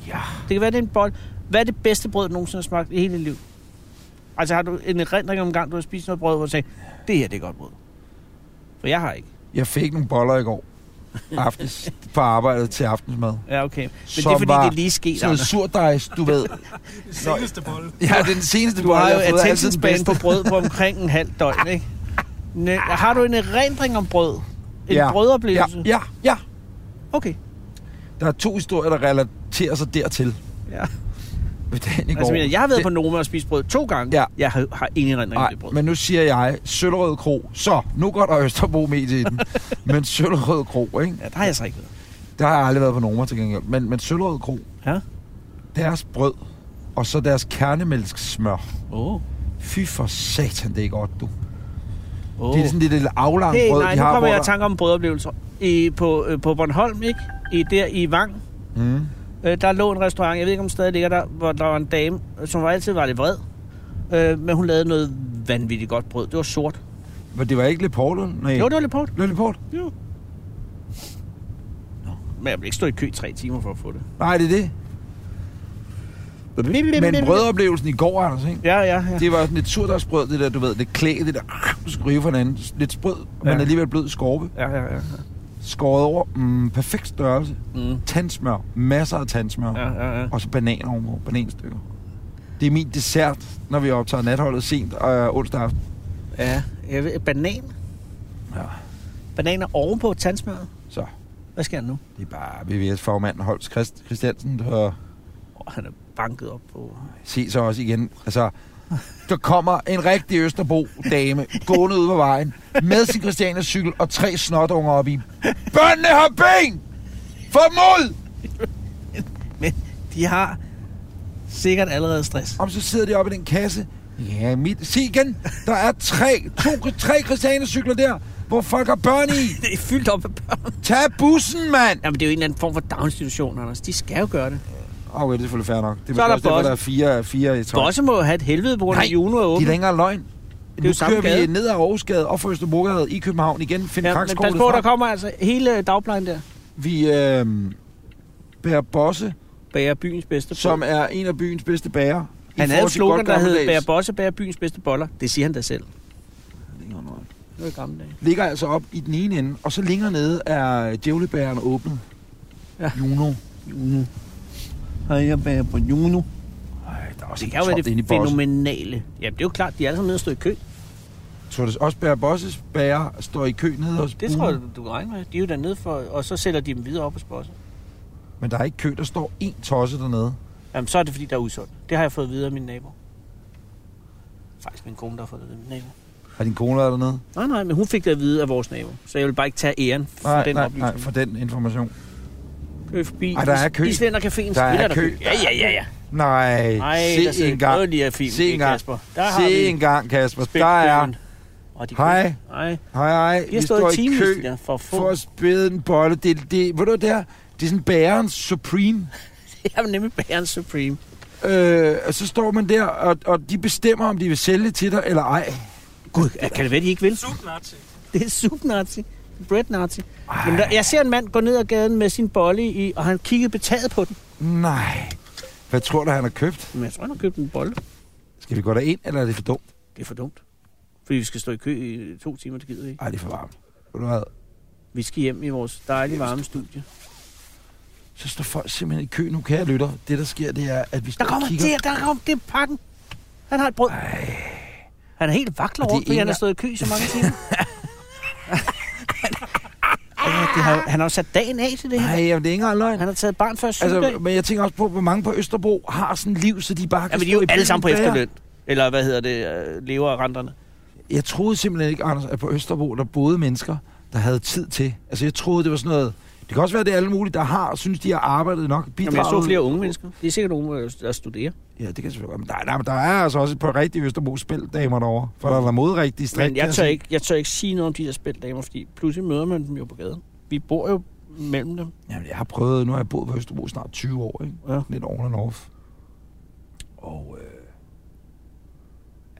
S2: Ja.
S3: Det kan være, det er en bolle. Hvad er det bedste brød, du nogensinde har smagt i hele dit liv? Altså har du en erindring om en gang, du har spist noget brød, hvor du sagde, det her det er godt brød. For jeg har ikke.
S2: Jeg fik nogle boller i går aftes på arbejdet til aftensmad.
S3: Ja, okay. Men det er
S2: Som
S3: fordi,
S2: var
S3: det er lige sket,
S2: Sådan noget
S3: Anders.
S2: surdejs, du ved.
S5: Seneste bolle.
S2: Ja, det er den seneste
S3: Du har jo
S2: jeg fået, altid
S3: attention
S2: den
S3: span
S2: bedste.
S3: på brød på omkring en halv døgn, ikke? Næ- har du en erindring om brød? En
S2: Ja. Ja,
S3: brødoplevelse?
S2: ja, ja.
S3: Okay.
S2: Der er to historier, der relaterer sig dertil.
S3: Ja.
S2: Ved dagen i går.
S3: Altså, men jeg har været
S2: Det-
S3: på Noma og spist brød to gange.
S2: Ja.
S3: Jeg har, har ingen erindring om det brød.
S2: Nej, men nu siger jeg Søllerød Kro. Så, nu går der Østerbro med i den. men Søllerød Kro, ikke?
S3: Ja, der har jeg så ikke været.
S2: Der har jeg aldrig været på Noma til gengæld. Men, men Søllerød Kro,
S3: Ja.
S2: deres brød, og så deres kernemælkssmør.
S3: Åh.
S2: Fy for satan, det er godt, du.
S3: Oh.
S2: Det er sådan lidt lille aflangt
S3: Hey,
S2: brød,
S3: nej,
S2: de
S3: nu
S2: har.
S3: kommer
S2: hvor
S3: jeg i
S2: der-
S3: tanke om brødoplevelser. I, på, øh, på Bornholm, ikke? I, der i Vang,
S2: Mm.
S3: øh, der lå en restaurant, jeg ved ikke om den stadig ligger der, hvor der var en dame, som var altid var lidt vred. Øh, men hun lavede noget vanvittigt godt brød. Det var sort.
S2: Men det var ikke Leporto? Nej.
S3: Jo, det var lidt på.
S2: Lilleport?
S3: Jo. Men jeg vil ikke stå i kø i tre timer for at få det.
S2: Nej, det er det. Men brødoplevelsen i går, Anders, ikke?
S3: Ja, ja, ja.
S2: Det var sådan lidt surdejsbrød, det der, du ved, det klæ, det der, ah, skrive for hinanden. Lidt sprød, ja.
S3: Ja.
S2: men alligevel blød skorpe.
S3: Ja, ja, ja.
S2: Skåret over, mm, perfekt størrelse.
S3: Mm.
S2: Tandsmør, masser af tandsmør.
S3: Ja,
S2: Ja.
S3: ja, ja.
S2: Og så banan ovenpå, bananstykker. Det er min dessert, når vi optager natholdet sent og øh, onsdag aften.
S3: ja. Jeg ved, banan.
S2: Ja.
S3: Bananer ovenpå tandsmøret.
S2: Så
S3: Hvad sker der nu?
S2: det er bare VVS-formanden Holst Christ, Christiansen, der
S3: Oh, han er banket op på...
S2: se så også igen. Altså, der kommer en rigtig Østerbro-dame gående ud på vejen med sin Christianias cykel og tre snotunger op i. Børnene har ben! Formod!
S3: Men de har sikkert allerede stress.
S2: Om så sidder de oppe i den kasse. Ja, mit... Se igen! Der er tre, to, tre Christianias cykler der, hvor folk har børn i.
S3: Det er fyldt op af børn.
S2: Tag bussen, mand!
S3: Jamen, det er jo en eller anden form for daginstitution, Anders. De skal jo gøre det.
S2: Okay, oh, det er selvfølgelig fair nok. Det er,
S3: Så er
S2: måske
S3: der
S2: også derfor,
S3: Bosse.
S2: der er fire, fire i træk.
S3: Bosse må jo have et helvede, hvor
S2: Nej,
S3: der Juno er
S2: De er
S3: åben.
S2: længere løgn.
S3: er
S2: Nu
S3: jo samme
S2: kører vi
S3: gade.
S2: ned ad Aarhusgade og fra Østerbrogade i København igen. Find
S3: Ja, men
S2: Krakskortet
S3: pas på,
S2: frem.
S3: der kommer altså hele dagplejen der.
S2: Vi øh, bærer Bosse,
S3: Bærer byens bedste
S2: som er en af byens bedste bærer. I
S3: Han havde
S2: forhold
S3: et
S2: til
S3: slogan,
S2: godt
S3: der hed,
S2: gammeldags.
S3: bærer bosse, bærer byens bedste boller. Det siger han da selv. Det var i gamle dage.
S2: Ligger altså op i den ene ende, og så længere nede er djævlebæren åbnet.
S3: Ja.
S2: Juno.
S3: Juno. Hej, jeg bærer på Juno.
S2: Ej, der er også det
S3: Det kan jo være
S2: tomt inde i
S3: det
S2: Bosse.
S3: fænomenale. Ja, det er jo klart, de er alle sammen nede og stå i kø.
S2: Tror du også bærer Bosses bærer står i kø nede hos
S3: Det
S2: Bruno?
S3: tror jeg, du kan regne med. De er jo dernede for, og så sælger de dem videre op hos bosse.
S2: Men der er ikke kø, der står én tosse dernede.
S3: Jamen, så er det, fordi der er usundt. Det har jeg fået videre af min nabo. Faktisk min kone, der har fået det videre af min nabo.
S2: Har din kone været dernede?
S3: Nej, nej, men hun fik det at vide af vores nabo. Så jeg vil bare ikke tage æren for
S2: Nej,
S3: den
S2: nej,
S3: oplysning.
S2: nej, for den information.
S3: Kø forbi.
S2: Ej, der er kø.
S3: Islænder Caféen.
S2: Der er
S3: Spiller
S2: kø.
S3: Ja, ja, ja, ja.
S2: Nej,
S3: Nej, der
S2: se
S3: sidder
S2: en gang.
S3: Prøv lige at filme
S2: Se
S3: det,
S2: en gang.
S3: Kasper. Der har vi
S2: Se en gang, Kasper. Der er...
S3: spækbøffen. Og de
S2: Hej.
S3: kø- Hej.
S2: Hej, hej.
S3: De har stået i timevis, de der, for at
S2: for
S3: få...
S2: at spille en bolle. Det, det, ved du, det er, det er sådan bærens supreme.
S3: Det er jo nemlig Bæren Supreme.
S2: Øh, og så står man der, og, og de bestemmer, om de vil sælge til dig eller ej.
S3: Gud, kan det være, de ikke vil?
S5: Subnazi.
S3: Det er subnazi. Bread nazi. Men der, jeg ser en mand gå ned ad gaden med sin bolle i, og han kiggede betaget på den.
S2: Nej. Hvad tror du, han har købt?
S3: Men jeg tror, han har købt en bolle.
S2: Skal vi gå derind, eller er det for dumt?
S3: Det er for dumt. Fordi vi skal stå i kø i to timer, det gider vi ikke.
S2: Nej, det er for varmt. Ved du hvad?
S3: Vi skal hjem i vores dejlige varme studie.
S2: Så står folk simpelthen i kø nu, kære lytter. Det, der sker, det er, at vi står
S3: Der kommer
S2: og kigger...
S3: det, der kommer det er pakken. Han har et brød. Han er helt vakler
S2: Og det er
S3: rundt, fordi han har
S2: engang-
S3: stået i kø i så mange timer. Ja, det har, han har jo sat dagen af til det her.
S2: Nej, jamen, det er ikke engang løgn.
S3: Han har taget barn før syvdag.
S2: Altså,
S3: Altså,
S2: men jeg tænker også på, hvor mange på Østerbro har sådan et liv, så de bare kan
S3: Jamen, de
S2: stå
S3: er jo
S2: i
S3: alle
S2: bilen
S3: sammen på
S2: der.
S3: efterløn. Eller hvad hedder det, øh, lever af renterne.
S2: Jeg troede simpelthen ikke, Anders, at på Østerbro, der boede mennesker, der havde tid til. Altså, jeg troede, det var sådan noget... Det kan også være, at det er alle mulige, der har, synes, de har arbejdet nok, bidraget.
S3: Jamen, jeg så flere unge mennesker. Det er sikkert nogen, øh, der studerer.
S2: Ja, det kan selvfølgelig være. Men der, der, der er altså også et par rigtige Østerbro spildamer derovre. For der er der modrigtige strik.
S3: Men jeg tør, ikke, jeg tør ikke sige noget om de der spildamer, fordi pludselig møder man dem jo på gaden. Vi bor jo mellem dem.
S2: Jamen, jeg har prøvet... Nu har jeg boet på Østerbro i snart 20 år, ikke?
S3: Ja.
S2: Lidt on and off. Og... Øh,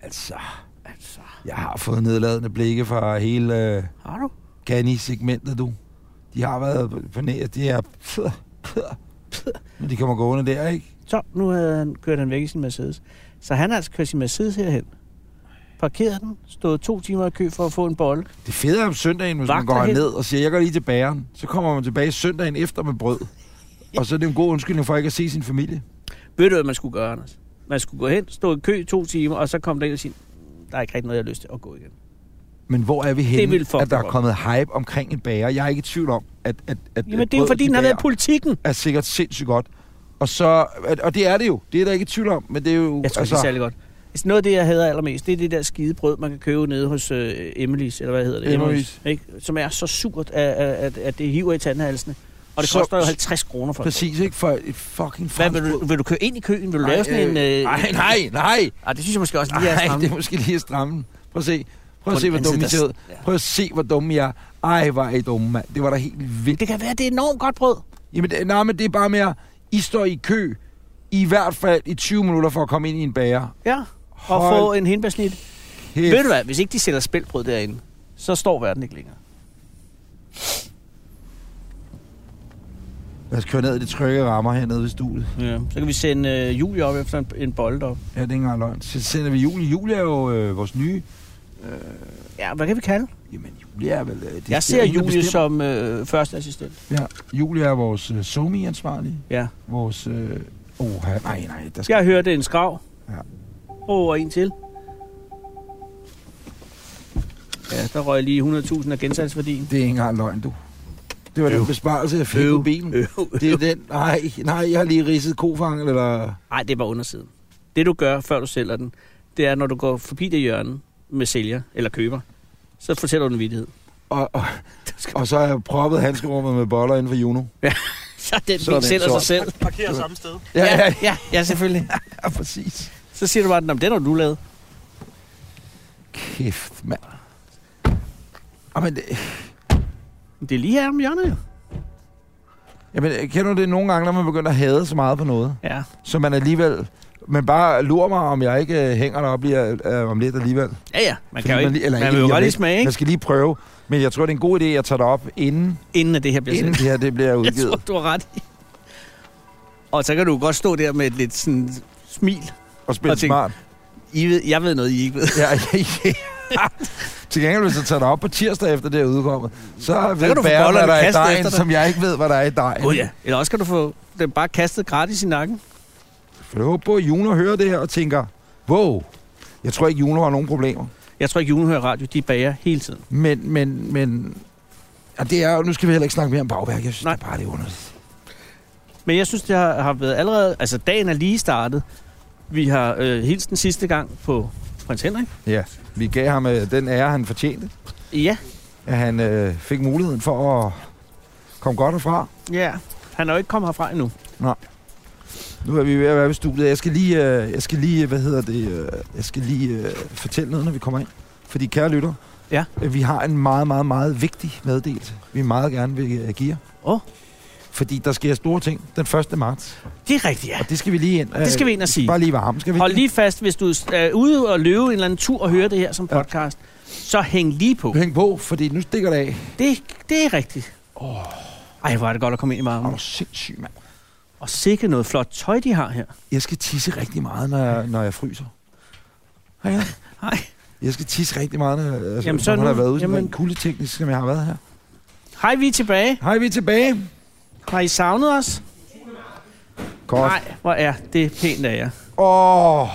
S2: altså...
S3: Altså,
S2: Jeg har fået nedladende blikke fra hele... Øh,
S3: har du?
S2: Gani-segmentet, du. De har været på- på næ, de er... Men de kommer gående der, ikke?
S3: Så nu havde han kørt han væk i sin Mercedes. Så han har altså kørt sin Mercedes herhen. Parkeret den, stået to timer i kø for at få en bolle.
S2: Det fede er om søndagen, hvis man
S3: Vagter
S2: går
S3: hen.
S2: ned og siger, jeg går lige til bageren. Så kommer man tilbage søndagen efter med brød. Og så er det en god undskyldning for ikke at se sin familie.
S3: Ved du, hvad man skulle gøre, Anders? Man skulle gå hen, stå i kø i to timer, og så komme der ind og sige, der er ikke rigtig noget, jeg har lyst til at gå igen.
S2: Men hvor er vi henne,
S3: ville fucking
S2: at der er
S3: godt.
S2: kommet hype omkring en bager? Jeg er ikke i tvivl om, at, at, at
S3: Jamen,
S2: at
S3: det er jo
S2: brødet,
S3: fordi,
S2: de
S3: den har
S2: bager,
S3: været i politikken.
S2: er sikkert sindssygt godt. Og, så, at- og det er det jo. Det er der ikke i tvivl om, men det er jo...
S3: Jeg tror altså, det er særlig godt. Altså, Noget af det, jeg hader allermest, det er det der skide brød, man kan købe nede hos øh, Emily's, eller hvad hedder det?
S2: Emily's.
S3: Ikke? Som er så surt, at, at, at det hiver i tandhalsene. Og det
S2: Så-
S3: så, koster jo 50 kroner for det.
S2: Præcis, ikke? For et fucking
S3: Hvad,
S2: fransk
S3: vil, du, vil du køre ind i køen? Vil du
S2: Nej,
S3: lave sådan en... Øh,
S2: Nej, nej, nej.
S3: Ej, Ah, det synes jeg måske også lige er
S2: Nej,
S3: stramme.
S2: det er måske lige at stramme. den. Prøv at se. Prøv
S3: På
S2: at se,
S3: den
S2: hvor
S3: anden
S2: dumme I
S3: side,
S2: ser ud.
S3: der- ja.
S2: Prøv at se, hvor dumme jeg er. Ej, hvor er I dumme, mand. Det var da helt vildt.
S3: Det kan være, det er enormt godt brød.
S2: Jamen, det, nej, men det er bare mere, I står i kø, i hvert fald i 20 minutter for at komme ind i en bager.
S3: Ja. Og
S2: Hold
S3: få en hindbærsnit.
S2: Hæft.
S3: Ved du hvad, hvis ikke de sælger spældbrød derinde, så står verden ikke længere.
S2: Lad os køre ned i de trygge rammer hernede ved studiet.
S3: Ja. Så kan vi sende øh, Julie op efter en, en bold op.
S2: Ja, det er ikke engang løgn. Så sender vi Julie. Julie er jo øh, vores nye...
S3: Ja, hvad kan vi kalde? Det
S2: Jamen, Julie er vel... Øh, det er
S3: jeg ser
S2: hende, der
S3: Julie
S2: bestemmer.
S3: som øh, førsteassistent.
S2: Ja, Julie er vores øh, somi-ansvarlige.
S3: Ja.
S2: Vores... Øh, oh, nej, nej, der skal...
S3: Jeg hørte en skrav.
S2: Ja.
S3: Åh, og en til. Ja, der røg lige 100.000 af gensalgsværdien.
S2: Det er ikke engang løgn, du. Det var den besparelse, jeg fik
S3: Øv.
S2: på bilen.
S3: Øv.
S2: Det er den. Nej, nej, jeg har lige ridset kofang, eller...
S3: Nej, det var undersiden. Det du gør, før du sælger den, det er, når du går forbi det hjørne med sælger eller køber, så fortæller du en vidighed.
S2: Og, og, og så har jeg proppet handskerummet med boller inden for Juno.
S3: Så den
S2: Så er
S3: så
S2: den
S3: sælger sig
S2: solgt.
S3: selv.
S5: Parkerer samme sted.
S2: Ja, ja,
S3: ja, ja, selvfølgelig.
S2: ja, præcis.
S3: Så siger du bare, at den har du lavet.
S2: Kæft, mand. Ah, Jamen, det,
S3: Det er lige her om hjørnet, jo.
S2: jamen, kender du det nogle gange, når man begynder at hade så meget på noget?
S3: Ja.
S2: Så man alligevel... Men bare lurer mig, om jeg ikke øh, hænger deroppe lige, øh, om lidt alligevel.
S3: Ja, ja. Man
S2: Fordi
S3: kan jo
S2: lige-
S3: ikke.
S2: eller
S3: Man vil jo
S2: jeg
S3: godt
S2: ved
S3: lige smage,
S2: Jeg
S3: ikke?
S2: skal lige prøve. Men jeg tror, det er en god idé, at jeg tager det op, inden,
S3: Inden at det her bliver
S2: inden
S3: sendt.
S2: det her det bliver
S3: Jeg
S2: udgivet.
S3: tror, du har ret i. Og så kan du godt stå der med et lidt sådan smil.
S2: Og spille
S3: og tænke,
S2: smart.
S3: I ved, jeg ved noget, I ikke ved.
S2: Ja, ja, ja. Til gengæld, hvis jeg tager dig op på tirsdag efter det er udkommet, så ved
S3: kan du få
S2: bæren,
S3: bollerne
S2: hvad der er i
S3: kastet
S2: dejen,
S3: efter dig.
S2: som jeg ikke ved, hvad der er i dejen.
S3: Gud ja. Eller også kan du få den bare kastet gratis i nakken.
S2: For jeg håber på, at Juno hører det her og tænker, wow, jeg tror ikke, Juno har nogen problemer.
S3: Jeg tror ikke, Juno hører radio. De bager hele tiden.
S2: Men, men, men... Ja, det er jo, nu skal vi heller ikke snakke mere om bagværk. Jeg synes
S3: Nej.
S2: Nej. bare, det er underligt.
S3: Men jeg synes, det har, har været allerede... Altså, dagen er lige startet. Vi har øh, hilsen sidste gang på prins Henrik.
S2: Ja, vi gav ham øh, den ære, han fortjente.
S3: Ja.
S2: At han øh, fik muligheden for at komme godt herfra.
S3: Ja. Han er jo ikke kommet herfra endnu.
S2: Nu er vi ved at være ved studiet. Jeg skal lige, øh, jeg skal lige hvad hedder det, øh, jeg skal lige øh, fortælle noget, når vi kommer ind. Fordi, kære lytter,
S3: Ja.
S2: øh, vi har en meget, meget, meget vigtig meddelelse, vi meget gerne vil øh, give jer.
S3: Åh.
S2: Fordi der sker store ting den 1. marts,
S3: Det er rigtigt, ja.
S2: og det skal vi lige ind. øh,
S3: Det skal vi ind og sige.
S2: Bare lige varme, skal vi?
S3: Hold lige fast, hvis du er ude og løbe en eller anden tur og hører det her som podcast, så hæng lige på.
S2: Hæng på, fordi nu stikker det af.
S3: Det, det er rigtigt. Ej, hvor er det godt at komme ind i
S2: Åh, du
S3: varmen.
S2: er sindssyg, mand.
S3: Og sikke noget flot tøj, de har her.
S2: Jeg skal tisse rigtig meget, når jeg, når jeg fryser. Hej. Anna.
S3: Hej.
S2: Jeg skal tisse rigtig meget, når jeg- altså,
S3: Jamen,
S2: jamen,
S3: så
S2: så har
S3: nu-
S2: været ude
S3: jamen-
S2: jamen. en kuldeteknisk, som jeg har været her.
S3: Hej, vi er tilbage.
S2: Hej, vi er tilbage.
S3: Har I savnet os?
S2: Godt.
S3: Nej, hvor er det pænt af jer.
S2: Åh, oh,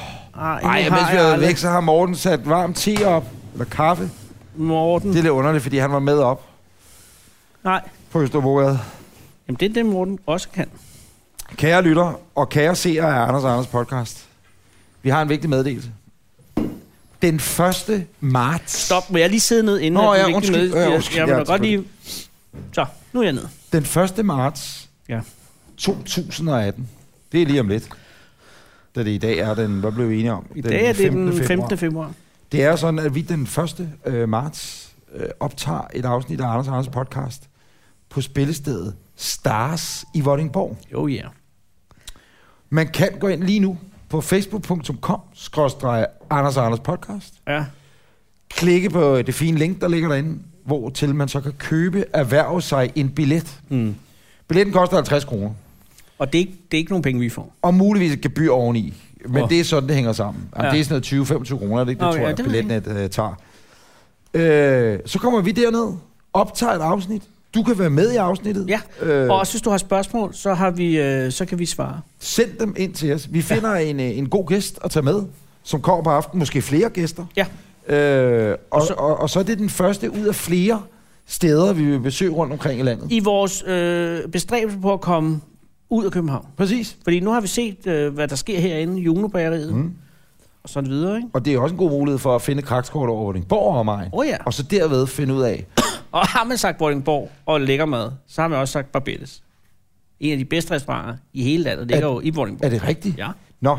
S3: Ej, nu
S2: ej, mens
S3: har
S2: vi
S3: jeg
S2: har været
S3: aldrig-
S2: væk, så har Morten sat varm te op. Eller kaffe.
S3: Morten.
S2: Det er lidt underligt, fordi han var med op
S3: Nej,
S2: på Østerbrogade.
S3: Jamen, det er det, Morten også kan.
S2: Kære lytter og kære seere af Anders og Anders podcast. Vi har en vigtig meddelelse. Den 1. marts.
S3: Stop, må jeg lige sidde ned inden?
S2: Nå,
S3: at du
S2: ja,
S3: ikke
S2: undskyld.
S3: med-
S2: Ja,
S3: Jeg-
S2: undskyld,
S3: Jeg må
S2: ja,
S3: da godt lige... Så, nu er jeg nede.
S2: Den 1. marts
S3: Ja.
S2: 2018. Det er lige om lidt. Da det i dag er den, hvad blev vi enige om?
S3: I dag er det den 15. februar.
S2: Det er sådan, at vi den 1. Øh, marts øh, optager et afsnit af Anders og Anders podcast på spillestedet Stars i Vordingborg.
S3: Jo, ja.
S2: Man kan gå ind lige nu på facebook.com skråstreg Anders og Anders podcast.
S3: Ja,
S2: Klikke på øh, det fine link, der ligger derinde, hvor til man så kan købe, erhverve sig en billet.
S3: Mm.
S2: Billetten koster 50 kroner.
S3: og det er, ikke, det er ikke nogen penge, vi får.
S2: Og muligvis et gebyr oveni. Men
S3: Åh.
S2: oh. det er sådan, det hænger sammen. Jamen,
S3: Ja.
S2: Det er sådan noget 20-25 kroner, det, det
S3: Nå,
S2: tror
S3: ja,
S2: jeg,
S3: det ved jeg
S2: billetnet øh, tager. Øh, så kommer vi derned, optager et afsnit. Du kan være med i afsnittet.
S3: Ja,
S2: Øh,
S3: Og også hvis du har spørgsmål, så, har vi, øh, så kan vi svare.
S2: Send dem ind til os. Vi finder ja. en, øh, en god gæst at tage med, som kommer på aftenen. Måske flere gæster.
S3: Ja.
S2: Øh, og,
S3: Og
S2: og,
S3: så-
S2: så, og, og så er det den første ud af flere steder, vi vil besøge rundt omkring i landet.
S3: I vores øh, bestræbelse på at komme ud af København.
S2: Præcis.
S3: Fordi nu har vi set, øh, hvad der sker herinde, Junobageriet mm.
S2: Mm.
S3: og sådan videre, ikke?
S2: Og det er også en god mulighed for at finde krakskort over Vordingborg og mig.
S3: Åh oh, ja.
S2: Og så derved finde ud af,
S3: Og har man sagt Vordingborg og lækker mad, så har man også sagt Barbettes. En af de bedste restauranter i hele landet ligger jo i Vordingborg.
S2: er det rigtigt?
S3: Ja,
S2: Nå,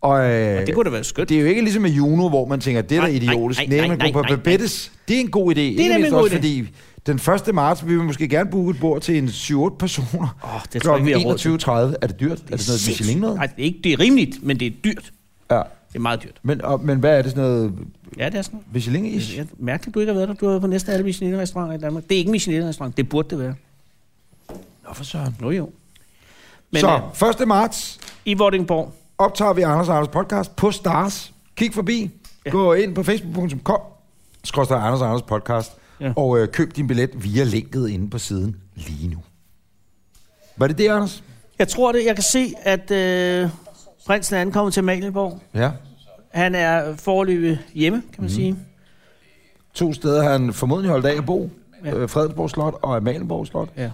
S2: og, øh,
S3: og det kunne da være skønt.
S2: det er jo ikke ligesom med Juno, hvor man tænker, det er da
S3: Nej, nej,
S2: idiotisk.
S3: nej,
S2: Nej,
S3: nej,
S2: man går på
S3: nej, nej.
S2: Babettes. Det er en god idé. Det
S3: nemlig
S2: er
S3: en
S2: mindst
S3: god
S2: også,
S3: idé.
S2: fordi den 1. marts vil vi måske gerne booke et bord til en 7-8 personer.
S3: Åh, det tror jeg ikke, vi har råd til.
S2: 21.30. Er det dyrt? Er det sådan noget
S3: sindssygt.
S2: Michelin noget?
S3: Nej, det er, ikke, det er rimeligt, men det er dyrt.
S2: Ja.
S3: Det er meget dyrt.
S2: Men, og, men hvad er det sådan noget
S3: Ja, det er sådan.
S2: Michelin-ish?
S3: Det er mærkeligt, du ikke har været der. Du har været på næsten alle Michelin-restauranter i Danmark. Det er ikke Michelin-restaurant. Det burde det være.
S2: Nå, for søren.
S3: Nå jo. Men øh, så.
S2: Så, 1. marts
S3: i Vordingborg,
S2: optager vi Anders og Anders podcast på Stars. Kig forbi.
S3: Ja.
S2: Gå ind på facebook.com. Skråstrej Anders og Anders podcast.
S3: Ja.
S2: Og øh, køb din billet via linket inde på siden lige nu. Var det det, Anders?
S3: jeg tror det. Jeg kan se, at øh, prinsen er ankommet til Malienborg.
S2: Ja.
S3: Han er forløbet hjemme, kan man
S2: Mhm.
S3: mm. sige.
S2: To steder har han formodentlig holdt af at bo.
S3: Ja.
S2: Ja. Øh, Fredensborg Slot og Amalienborg Slot.
S3: Ja.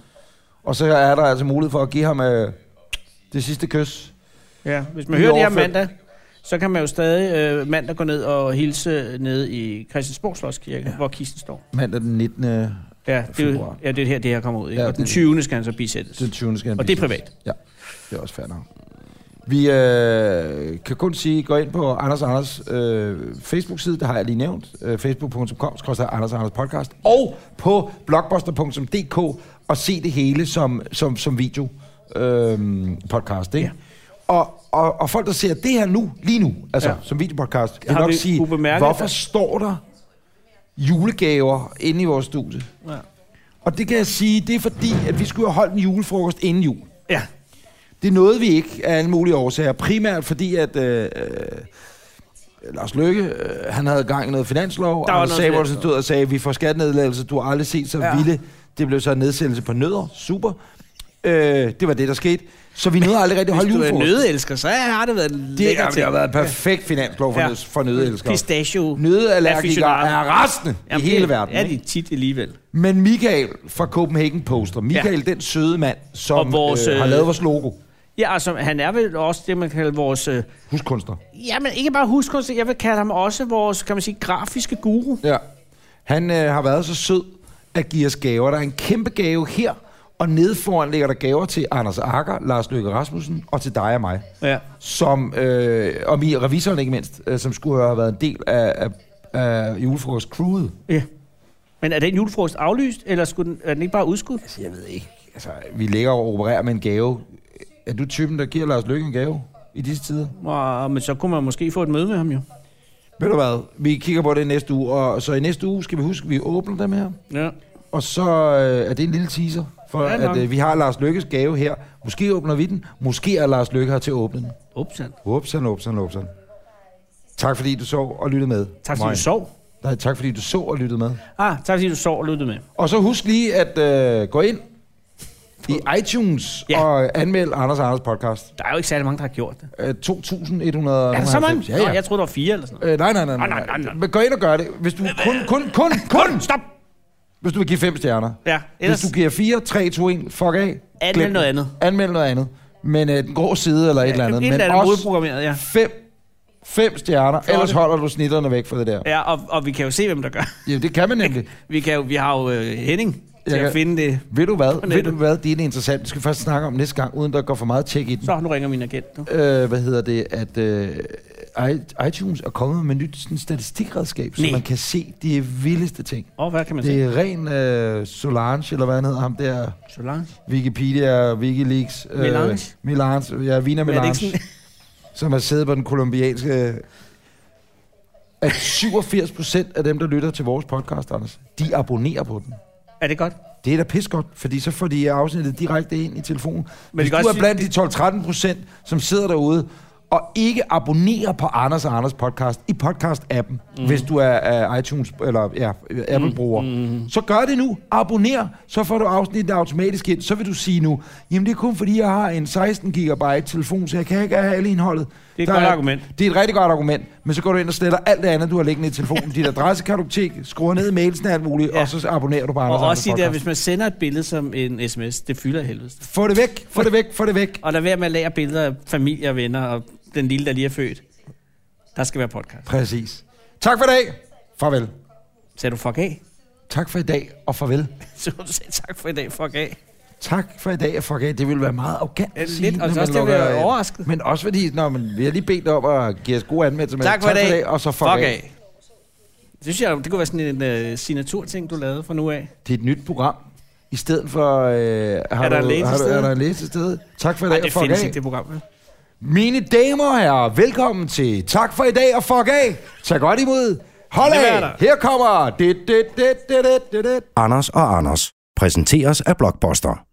S2: Og så er der altså mulighed for at give ham øh, det sidste kys.
S3: Ja, hvis man
S2: Lige
S3: hører det her
S2: overført.
S3: mandag, så kan man jo stadig øh, mandag gå ned og hilse nede i Christiansborg Slotskirke, ja. hvor kisten står.
S2: Mandag den 19. den
S3: Ja, det er, jo-
S2: Februar.
S3: ja, det er her, det her kommer ud. Ikke?
S2: Ja,
S3: og den
S2: det-
S3: 20. skal han så bisættes.
S2: 20. skal han
S3: Og det er
S2: blive
S3: privat.
S2: Ja, det er også fair nok. Vi øh, kan kun sige, gå ind på Anders og Anders øh, Facebook-side, det har jeg lige nævnt, øh, facebook.com, skrøster Anders og Anders podcast, og på blogbuster.dk og se det hele som, som, som video øh, podcast, ikke? Ja. Og, og, og folk, der ser det her nu, lige nu, altså
S3: Ja.
S2: ja. som videopodcast, vil
S3: Har
S2: nok
S3: vi
S2: sige,
S3: kunne bemærke,
S2: hvorfor
S3: at-
S2: står der julegaver inde i vores studie?
S3: Ja.
S2: Og det kan jeg sige, det er fordi, at vi skulle have holdt en julefrokost inden jul.
S3: ja.
S2: Det nåede vi ikke af alle mulige årsager. Primært fordi, at øh, øh, Lars Løkke, øh, han havde gang i noget finanslov.
S3: Der
S2: Der
S3: var
S2: Anders
S3: noget
S2: Samuelsen stod og sagde, vi får skattenedlæggelse, du har aldrig set så
S3: Ja.
S2: ja. vilde. Det blev så en nedsættelse på nødder. Super. Øh, det var det, der skete. Så vi nåede aldrig rigtig at holde
S3: Hvis du er
S2: julefrokost.
S3: nødeelsker, så har det været
S2: Det,
S3: lækkert
S2: er, det har været en perfekt finanslov for,
S3: Ja.
S2: ja. for nødelskere.
S3: Pistachio.
S2: Nødeallergikere
S3: Aficionado.
S2: er rasende
S3: Jamen,
S2: i hele
S3: det
S2: verden.
S3: er
S2: ikke?
S3: de tit alligevel.
S2: Men Michael fra Copenhagen Poster, Michael, ja. den søde mand,
S3: Og
S2: som
S3: vores,
S2: vores, øh, har
S3: øh,
S2: lavet vores logo,
S3: Ja, altså, han er vel også det, man kalder vores... Øh,
S2: huskunstner.
S3: jamen, ikke bare huskunstner, jeg vil kalde ham også vores, kan man sige, grafiske guru.
S2: Ja. Han øh, har været så sød at give os gaver. Der er en kæmpe gave her, og nede foran ligger der gaver til Anders Akker, Lars Løkke Rasmussen og til dig og mig.
S3: Ja.
S2: Som, øh, og vi revisoren ikke mindst, øh, som skulle have været en del af, af, af julefrokost-crewet.
S3: ja. Men er den julefrokost aflyst, eller skulle den, er den ikke bare udskudt?
S2: Jeg ved ikke. Altså, vi ligger og opererer med en gave. Er du typen, der giver Lars Løkke en gave i disse tider?
S3: Og, men så kunne man måske få et møde med ham jo.
S2: Ved du hvad? Vi kigger på det næste uge, og så i næste uge skal vi huske, at vi åbner dem her.
S3: Ja.
S2: Og så øh, er det en lille teaser, for
S3: Ja, nok.
S2: at øh, vi har Lars Lykkes gave her. Måske åbner vi den, måske er Lars Lykke her til at åbne den.
S3: Upsand.
S2: Upsan, upsan, upsan. Tak fordi du så og lyttede med.
S3: Tak fordi
S2: Møj.
S3: du sov.
S2: Nej, tak fordi du så og lyttede med.
S3: Ah, tak fordi du sov og lyttede med.
S2: Og så husk lige at øh, gå ind i iTunes
S3: Ja.
S2: ja. og anmeld Anders og Anders podcast.
S3: Der er jo ikke særlig mange, der har gjort det.
S2: Øh, 2100.
S3: Er der så mange?
S2: Ja, ja.
S3: Nå, jeg troede, der var fire eller sådan noget.
S2: Øh, nej, nej, nej,
S3: Nå,
S2: nej,
S3: nej, nej, nej.
S2: Men gå ind og gør det. Hvis du kun, kun, kun, kun,
S3: Stop!
S2: hvis du vil give fem stjerner.
S3: Ja,
S2: Ellers...
S3: ellers
S2: Hvis du giver 4, 3, 2, 1, fuck af.
S3: Anmeld
S2: Glem den.
S3: noget andet.
S2: Anmeld noget andet. Men øh, den grå side eller et eller andet.
S3: et
S2: Men
S3: eller andet
S2: også
S3: modprogrammeret, ja.
S2: fem, fem stjerner. Ellers holder du snitterne væk fra det der.
S3: Ja, og, og vi kan jo se, hvem der gør.
S2: Ja, det kan man nemlig.
S3: Vi, kan jo, vi har jo øh, Henning til
S2: Jeg
S3: at
S2: kan-
S3: finde det.
S2: Ved du hvad? Ved
S3: nettet.
S2: du hvad? Det er interessant. Det skal vi først snakke om næste gang, uden der går for meget tjek i den.
S3: Så, nu ringer min agent nu.
S2: øh, hvad hedder det, at øh, i- iTunes er kommet med et nyt sådan, statistikredskab, så
S3: Nej.
S2: man kan se de vildeste ting.
S3: Åh, hvad kan man
S2: Det
S3: sige?
S2: er ren øh, Solange, eller hvad han hedder, ham der,
S3: Solange?
S2: Wikipedia, Wikileaks. Øh,
S3: Melange?
S2: Melange, ja, Vina
S3: Men er det
S2: Melange,
S3: ikke sådan,
S2: som har siddet på den kolumbianske... At 87 procent af dem, der lytter til vores podcast, Anders, de abonnerer på den.
S3: er det godt?
S2: Det er da pissegodt, fordi så får de afsnittet direkte ind i telefonen. Men
S3: det
S2: Hvis
S3: kan
S2: du
S3: også
S2: er blandt de 12-13 procent, som sidder derude og ikke abonnerer på Anders og Anders podcast i podcast-appen, mm. hvis du er uh, iTunes eller ja, Apple-bruger, mm. så gør det nu. Abonner, så får du afsnittet automatisk ind. Så vil du sige nu, jamen det er kun fordi, jeg har en 16 gigabyte telefon, så jeg kan ikke have alle indholdet.
S3: Det er et godt argument.
S2: Det er et rigtig godt argument, men så går du ind og sletter alt det andet, du har liggende i telefonen. Dit adressekartotek, skruer ned i mailsen og alt muligt,
S3: Ja.
S2: ja. og så abonnerer du på Anders
S3: Og
S2: Anders
S3: også sige det,
S2: podcast.
S3: at hvis man sender et billede som en sms, det fylder af helvede.
S2: Få det væk, få det væk, få det væk.
S3: Og lad være med at lære billeder af familie og venner og den lille, der lige er født. Der skal være podcast.
S2: Præcis. Tak for i dag. Farvel.
S3: Sagde du fuck af?
S2: Tak for i dag og farvel.
S3: Så du sagde tak for i dag, fuck af.
S2: Tak for i dag og fuck af. Det ville være meget arrogant
S3: Ja,
S2: at sige,
S3: lidt,
S2: når
S3: og så
S2: man
S3: også det, at
S2: lukker
S3: jeg er
S2: af.
S3: overrasket.
S2: Men også fordi, når man, vi har lige bedt om at give os gode anmeldelser. men
S3: Tak for i dag.
S2: og så fuck, fuck af.
S3: Det synes jeg, det kunne være sådan en uh, signaturting, du lavede fra nu af.
S2: Det er et nyt program. I stedet for... Øh, har er,
S3: der
S2: du,
S3: en
S2: har du,
S3: læsested?
S2: er der en læsested? Tak for i
S3: Nej,
S2: dag og
S3: det
S2: fuck
S3: findes
S2: af.
S3: ikke, det program. vel?
S2: Mine damer og herrer, velkommen til Tak for i dag og fuck af. Tag godt imod. Hold
S3: Det er
S2: af.
S3: der.
S2: Her kommer... Det, det, det, det, det, det, det.
S1: Anders og Anders præsenteres af Blockbuster.